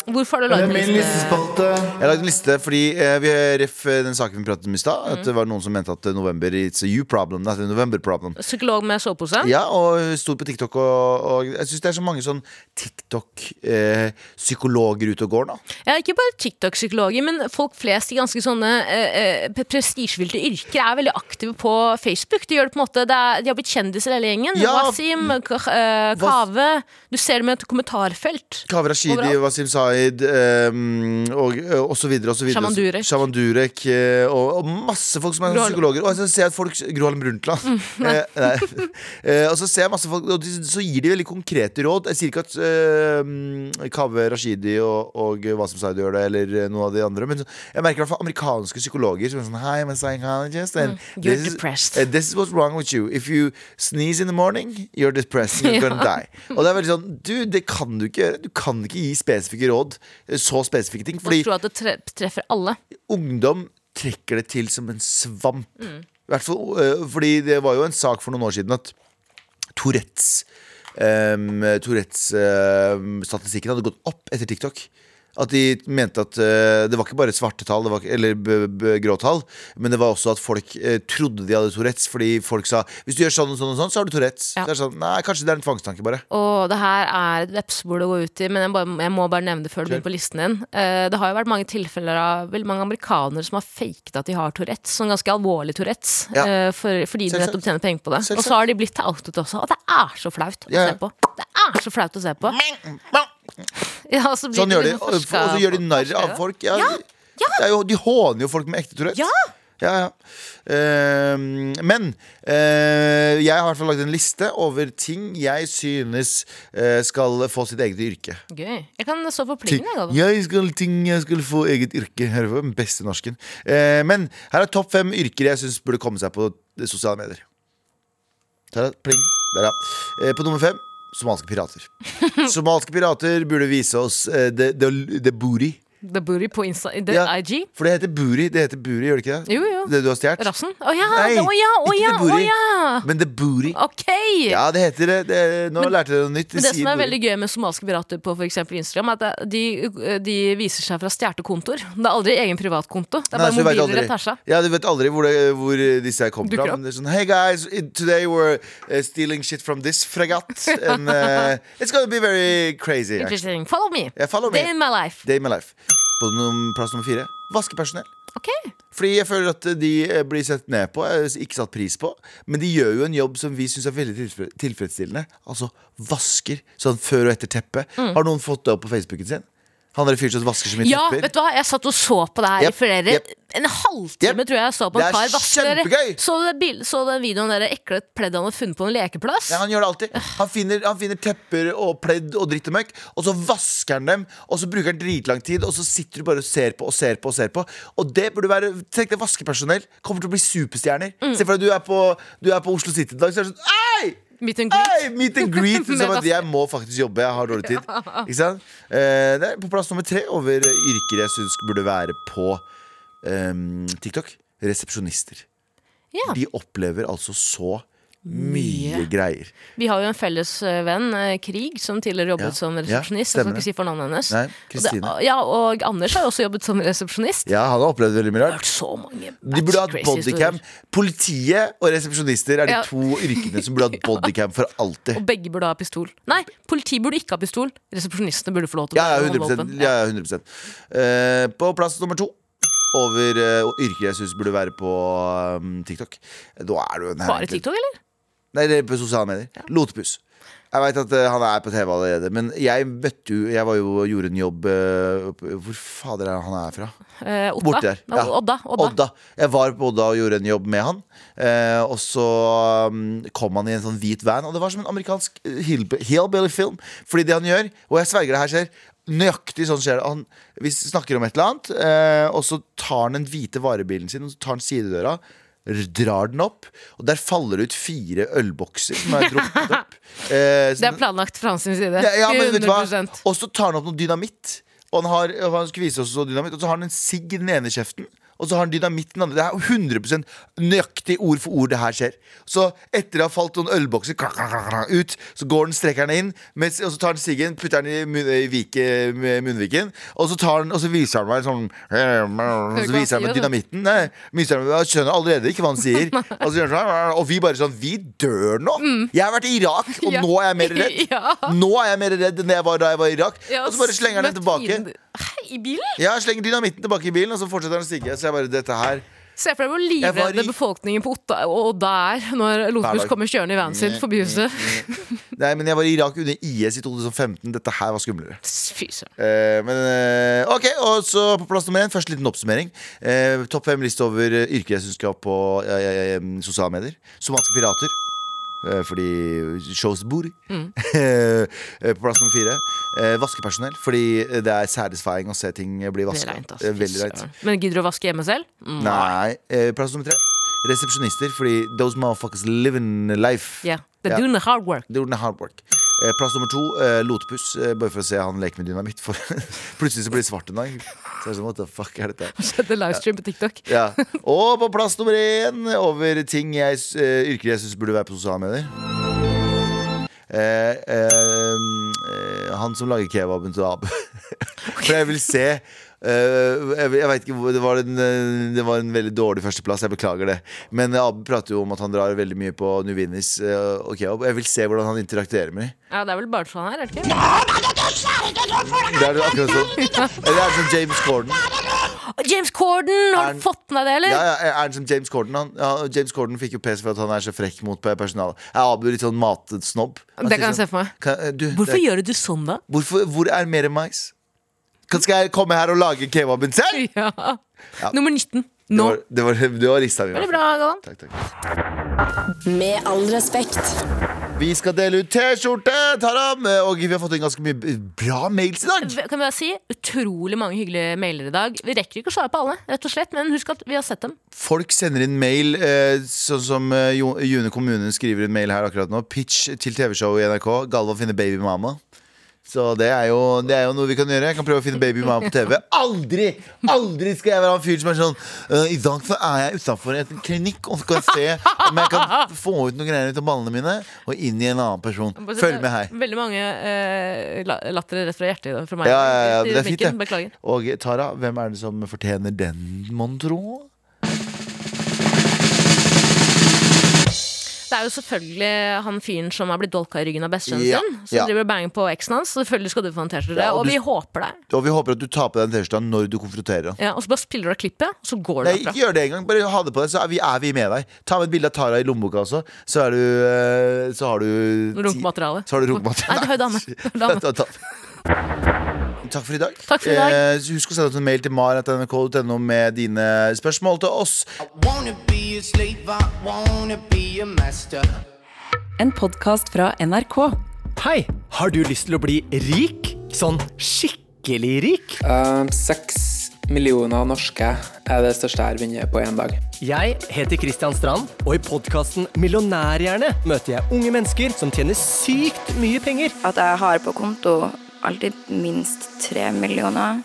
A: Hvorfor har du laget en liste?
F: listespalte.
B: Jeg lagde en liste fordi eh, vi ref eh, den saken vi pratet om i stad. At det var noen som mente at eh, november It's a you problem. Not a november problem.
A: eh, Psykolog med sovepose?
B: Ja, og stor på TikTok. Og, og jeg syns det er så mange sånn TikTok-psykologer ute og går nå.
A: Ja, ikke bare TikTok-psykologer, men folk flest i ganske sånne eh, eh, pre- prestisjefylte yrker er veldig aktive på Facebook. De, gjør det på en måte, det er, de har blitt kjendiser hele gjengen.
B: Ja.
A: Wasim, K- eh, Kave. Du ser dem i et kommentarfelt.
B: Kaveh Rashidi,
A: Overalt.
B: Wasim Zaid um, og, og så videre. Og så videre
A: Shaman Durek.
B: Shaman Durek, eh, og, og masse folk som er
A: Gro Harlem- Mm.
B: psykologer. Og så ser jeg at folk Gro Harlem Brundtland. Eh, nei. Eh, og så ser jeg masse folk Og de, så gir de veldig konkrete råd. Jeg sier ikke at uh, Kaveh Rashidi og, og Wasim Zaid gjør det, eller eh, noen av de andre. Men så- jeg merker i hvert fall amerikanske psykologer som er sånn Hi, I'm a psychologist. And
A: Mm. You're
B: this is-
A: depressed.
B: eh, This is what's wrong with you. If you sneeze in the morning, you're depressed and you're gonna die. Og det er veldig sånn, du, det kan du ikke gjøre. Du kan ikke gi spesifikke råd. eh, Så spesifikke ting.
A: Og
B: Fordi
A: tror at det tre treffer alle.
B: ungdom trekker det til som en svamp.
A: Mm.
B: I hvert fall, eh, fordi det var jo en sak for noen år siden at ehm, Tourettes um, Tourettes eh, statistikken hadde gått opp etter TikTok. At de mente at eh, det var ikke bare svarte tall, det var, ikke- eller b b grå tall, men det var også at folk eh, trodde de hadde Tourettes, fordi folk sa hvis du gjør sånn og sånn, og sånn så har du Tourettes. Så
A: Ja.
B: er det sånn, nei, kanskje det er en tvangstanke, bare.
A: Og det her er et vepsebol å gå ut i, men jeg, bare, jeg må bare nevne det før det
B: Kjør.
A: blir på listen din. Eh, det har jo vært mange tilfeller av veldig mange amerikanere som har faket at de har Tourettes, sånn ganske alvorlig Tourettes,
B: Ja.
A: eh, for, fordi de
B: Selvsagt.
A: nettopp tjener penger på det.
B: Selvsagt.
A: Og så har de blitt outet også, og det er så
B: Ja,
A: flaut å
B: ja.
A: se på. Det er så flaut å se på. Ja, og så blir
B: Sånn gjør de.
A: liksom
B: Og og
A: forska
B: så gjør de
A: på.
B: narr av folk. Ja, Det er jo, de håner jo folk med ekte Tourettes.
A: Ja.
B: Ja, ja. Ehm, men eh, jeg har i hvert fall lagd en liste over ting jeg synes eh, skal få sitt eget yrke.
A: Gøy. Jeg kan stå for
B: Ting,
A: plingen, jeg. Galvan.
B: jeg skal, ting jeg skal få eget yrke. Hører på den beste norsken. Eh, men her er topp fem yrker jeg syns burde komme seg på sosiale medier. Der, er- pling. Der, ja. Eh, på nummer fem somaliske pirater. Somaliske pirater burde vise oss eh, the, the, the booty.
A: The booty på Insta the
B: Ja.
A: IG.
B: For det heter booty, det heter booty, gjør det ikke det?
A: Jo, jo.
B: Det du har stjålet?
A: Rassen. Å ja,
B: Nei,
A: å ja, å
B: ikke
A: ja,
B: the
A: å
B: booty.
A: ja.
B: Men the booty.
A: Ok!
B: Ja, det heter det. det nå lærte dere noe nytt. De
A: Men det som
B: sier
A: er veldig
B: booty.
A: gøy med somaliske pirater på for eksempel Instagram, er at det- de, de viser seg fra stjertekontoer. Det er aldri egen privatkonto. Det
B: Nei,
A: er bare
B: så du vet
A: mobiler
B: aldri.
A: og tasja.
B: Ja, du vet aldri hvor, det, hvor disse her kommer
A: Dukker
B: fra.
A: opp.
B: Men det er sånn, hey guys, it- today we're uh, stealing shit from this fregat. And uh, it's gonna be very crazy. actually.
A: Interesting. Follow me!
B: Yeah, follow me.
A: Day in my life.
B: Day in my life. På num- plass nummer fire, vaskepersonell.
A: Ok.
B: Fordi jeg føler at de eh, blir sett ned på, eh, ikke satt pris på. Men de gjør jo en jobb som vi syns er veldig tilfre- tilfredsstillende. Altså vasker sånn før og etter teppet. Har noen fått det opp på Facebooken sin? Han der fyren som vasker så mye
A: Mm. Ja,
B: tepper.
A: vet du hva? Jeg satt og så på det her
B: Jep,
A: i flere
B: jep.
A: En halvtime
B: Jep.
A: tror jeg jeg så på
B: Det er
A: en kar vaske dere.
B: kjempegøy!
A: Så, det bil- så den videoen dere ekle pleddet han hadde funnet på en lekeplass?
B: Nei, han gjør det alltid. Han finner, han finner tepper og pledd og dritt og møkk, og så vasker han dem, og så bruker han dritlang tid, og så sitter du bare og ser på og ser på og ser på. Og det burde være Tenk deg vaskepersonell. Kommer til å bli superstjerner. Se for deg du er på, du er på Oslo City i dag, så er det sånn Ei!
A: Meet and greet.
B: Ei, meet and greet!
A: Med
B: Som at
A: vaske-
B: jeg må faktisk jobbe, jeg har dårlig tid. Ikke sant? Eh, det er på plass nummer tre over yrker jeg syns burde være på eh, TikTok. Resepsjonister.
A: Ja.
B: De opplever altså så mye
A: Mye.
B: greier.
A: Vi har jo en felles eh, venn, eh, Krig, som tidligere jobbet
B: Ja.
A: som
B: Ja,
A: resepsjonist. jeg
B: stemmer
A: skal
B: det.
A: ikke si for navnet hennes.
B: Nei,
A: Og det-
B: Kristine.
A: Ja, og Anders har jo også jobbet som resepsjonist.
B: Ja, han har opplevd veldig mye
A: Jeg har
B: rart.
A: hørt så mange
B: De burde hatt
A: crazy
B: bodycam.
A: historier.
B: Politiet og resepsjonister er de
A: Ja.
B: to yrkene som burde hatt bodycam for alltid.
A: Og begge burde ha pistol. Nei, politiet burde ikke ha pistol. Resepsjonistene burde få lov til
B: Ja, ja,
A: å
B: 100,
A: våpen.
B: ja, ja, 100%. Eh, På plass nummer to over eh, yrker jeg syns burde være på um, TikTok. Nå er du
A: Bare TikTok, eller?
B: Nei, det er på sosiale medier. Lotepus. Jeg veit at eh, han er på TV allerede, men jeg møtte jo Jeg var jo, gjorde en jobb eh, opp- Hvor fader er han er fra?
A: Eh, Otta.
B: Borti der.
A: Ja. Odda. Odda.
B: Jeg var på Odda og gjorde en jobb med han. Eh, og så mm, kom han i en sånn hvit van, og det var som en amerikansk eh, hillb- hillbilly-film. Fordi det han gjør, og jeg sverger det her skjer, nøyaktig sånn skjer det. Han, vi snakker om et eller annet, eh, og så tar han den hvite varebilen sin, og så tar han sidedøra. r- Drar den opp, og der faller det ut fire ølbokser som er drukket opp. Eh,
A: Det
B: som-
A: er planlagt fra hans side.
B: ja, ja, men vet du hva?
A: 100%.
B: Og så tar han opp noe dynamitt. Og han, har, og han skulle vise oss noe dynamitt Og så har han en sigg i den ene kjeften, og så har han dynamitt i den andre. Det er 100 nøyaktig ord for ord det her skjer. Så etter det har falt noen ølbokser klak, klak, klak, klak, ut, så går den strekker den inn, mens, og så tar han siggen, putter den i, mun, i vike, med munnviken, og så, tar han, og så viser han meg sånn Og så viser han meg dynamitten. Nei, viser han meg, jeg skjønner allerede ikke hva han sier. Og, så gjør han sånn, og vi bare sånn Vi dør nå! Jeg har vært i Irak, og
A: Ja.
B: nå er jeg mer redd.
A: Ja.
B: Nå er jeg mer redd enn jeg var da jeg var i Irak.
A: Ja,
B: og så bare slenger han den
A: smøtt
B: tilbake.
A: inn- Hæ, I bilen?
B: Ja, jeg slenger dynamitten tilbake i bilen, og så fortsetter han å stige. Så jeg bare, dette her
A: Se for deg hvor
B: Jeg var
A: livredde
B: i-
A: befolkningen på Otta og Odda er når
B: Hver
A: Lotbus
B: dag.
A: kommer kjørende i vanen sin
B: Mm,
A: forbi huset.
B: Nei, men jeg var i Irak under IS i 2015. Dette her var skumlere.
A: Fy søren.
B: Eh, men eh, OK, og så på plass nummer én, først en liten oppsummering. Eh, Topp fem liste over eh, yrker jeg syns skal på eh, eh, eh, sosiale medier. Somaliske pirater. eh, Fordi shows bor.
A: Mm.
B: Eh, på plass nummer fire. eh, vaskepersonell. Fordi eh, det er satisfying å se ting bli
A: Det er
B: vaska.
A: reint, ass.
B: Veldig
A: Fy
B: reint.
A: søren. Men gidder du å vaske hjemme selv? Mm.
B: Nei. Eh, plass nummer tre. Resepsjonister, fordi those motherfuckers living life.
A: Yeah. They're
B: Ja.
A: doing the hard work.
B: They're doing the hard work. Eh, plass nummer to, eh, lotepus. Eh, bare for å se han leke med dynamitt. For plutselig så blir det svart en dag. Så er det sånn, what the fuck er dette?
A: Skjedde livestream på TikTok.
B: Ja. Og på plass nummer én over ting jeg, s- eh, yrker jeg syns burde være på sosiale medier. eh, eh, Han som lager kebaben til Abu. For jeg vil se eh, jeg, jeg vet ikke hvor, det, var en, eh, det var en veldig dårlig førsteplass, jeg beklager det. Men eh, Abu prater jo om at han drar veldig mye på Nuvinis eh, og kebab. Jeg vil se hvordan han interakterer med dem.
A: Ja, det er vel bare sånn her, er det ikke?
B: Det er det akkurat sånn. Eller er det som James Corden?
A: James Corden!
B: Er
A: Har
B: den-
A: du fått med deg det, eller?
B: Ja, ja, er han som James Corden? Han, ja, James Corden fikk jo pes for at han er så frekk mot personalet. Er Abu litt sånn matsnobb? Han
A: Det
B: sier
A: kan jeg
B: sånn,
A: se for meg.
B: kan- eh, du,
A: Hvorfor
B: det,
A: gjør du sånn, da?
B: hvorfor, hvor er mer mais? Kan, skal jeg komme her og lage kebaben selv?
A: Ja. Nummer
B: Det
A: 19. Nå.
B: var, det var, det var lista mi. i hvert fall.
A: Veldig bra, Galvan.
B: Takk, takk.
E: Med all respekt.
B: Vi skal dele ut T-skjorte, Taram! Og vi har fått inn ganske mye b- bra mails i dag.
A: Kan vi bare si utrolig mange hyggelige mailer i dag. Vi rekker ikke å svare på alle, rett og slett, men husk at vi har sett dem.
B: Folk sender inn mail, eh, sånn som eh, Jo- June kommune skriver en mail her akkurat nå. Pitch til TV-show i NRK. Galvan finner baby mama. Så det er, jo, det er jo noe vi kan gjøre. Jeg kan prøve å finne baby mama på TV. Aldri aldri skal jeg være han fyren som er sånn «Eh, I dag så er jeg utafor en klinikk og skal se om jeg kan få ut noen greier ut av ballene mine og inn i en annen person. Følg med her.
A: Veldig mange eh, la- latter rett fra hjertet i dag fra meg.
B: Ja, ja, ja,
A: Til
B: det er fint,
A: Bekken,
B: det.
A: Beklager.
B: Og Tara, hvem er det som fortjener den, mon tro?
A: Det er jo selvfølgelig han fyren som er blitt dolka i ryggen av bestevennen
B: Ja,
A: sin. Som
B: ja.
A: driver og banger på eksen hans. Så Selvfølgelig skal du få en T-skjorte.
B: Ja, og
A: og
B: du-
A: vi håper deg.
B: Og vi håper at du tar på deg den T-skjorta når du konfronterer han.
A: Ja, og så bare spiller du av klippet, og så går du
B: Nei,
A: derfra.
B: ikke gjør det engang. Bare ha det på deg, så er vi, er vi med deg. Ta med et bilde av Tara i lommeboka også, så er du eh, Så har du
A: Runkemateriale.
B: Så har du
A: Nei,
B: runkemateriale.
A: det er jo dame. Det er dame.
B: Ta- ta- Takk for i dag.
A: Takk for i dag.
B: Eh, så husk å sende oss en mail til mar.nrk.no med dine spørsmål til oss.
D: I wanna be a slave, I wanna be a master.
C: En podkast fra NRK.
G: Hei, har du lyst til å bli rik? Sånn skikkelig rik?
H: Eh, Seks millioner norske er det største jeg har vunnet på én dag.
G: Jeg heter Kristian Strand, og i podkasten Millionærhjerne møter jeg unge mennesker som tjener sykt mye penger.
I: at jeg har på konto alltid minst tre millioner.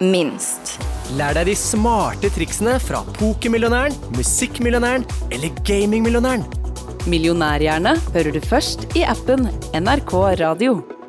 I: Minst.
G: Lær deg de smarte triksene fra pokermillionæren, musikkmillionæren eller gamingmillionæren.
C: Millionærhjerne hører du først i appen NRK Radio.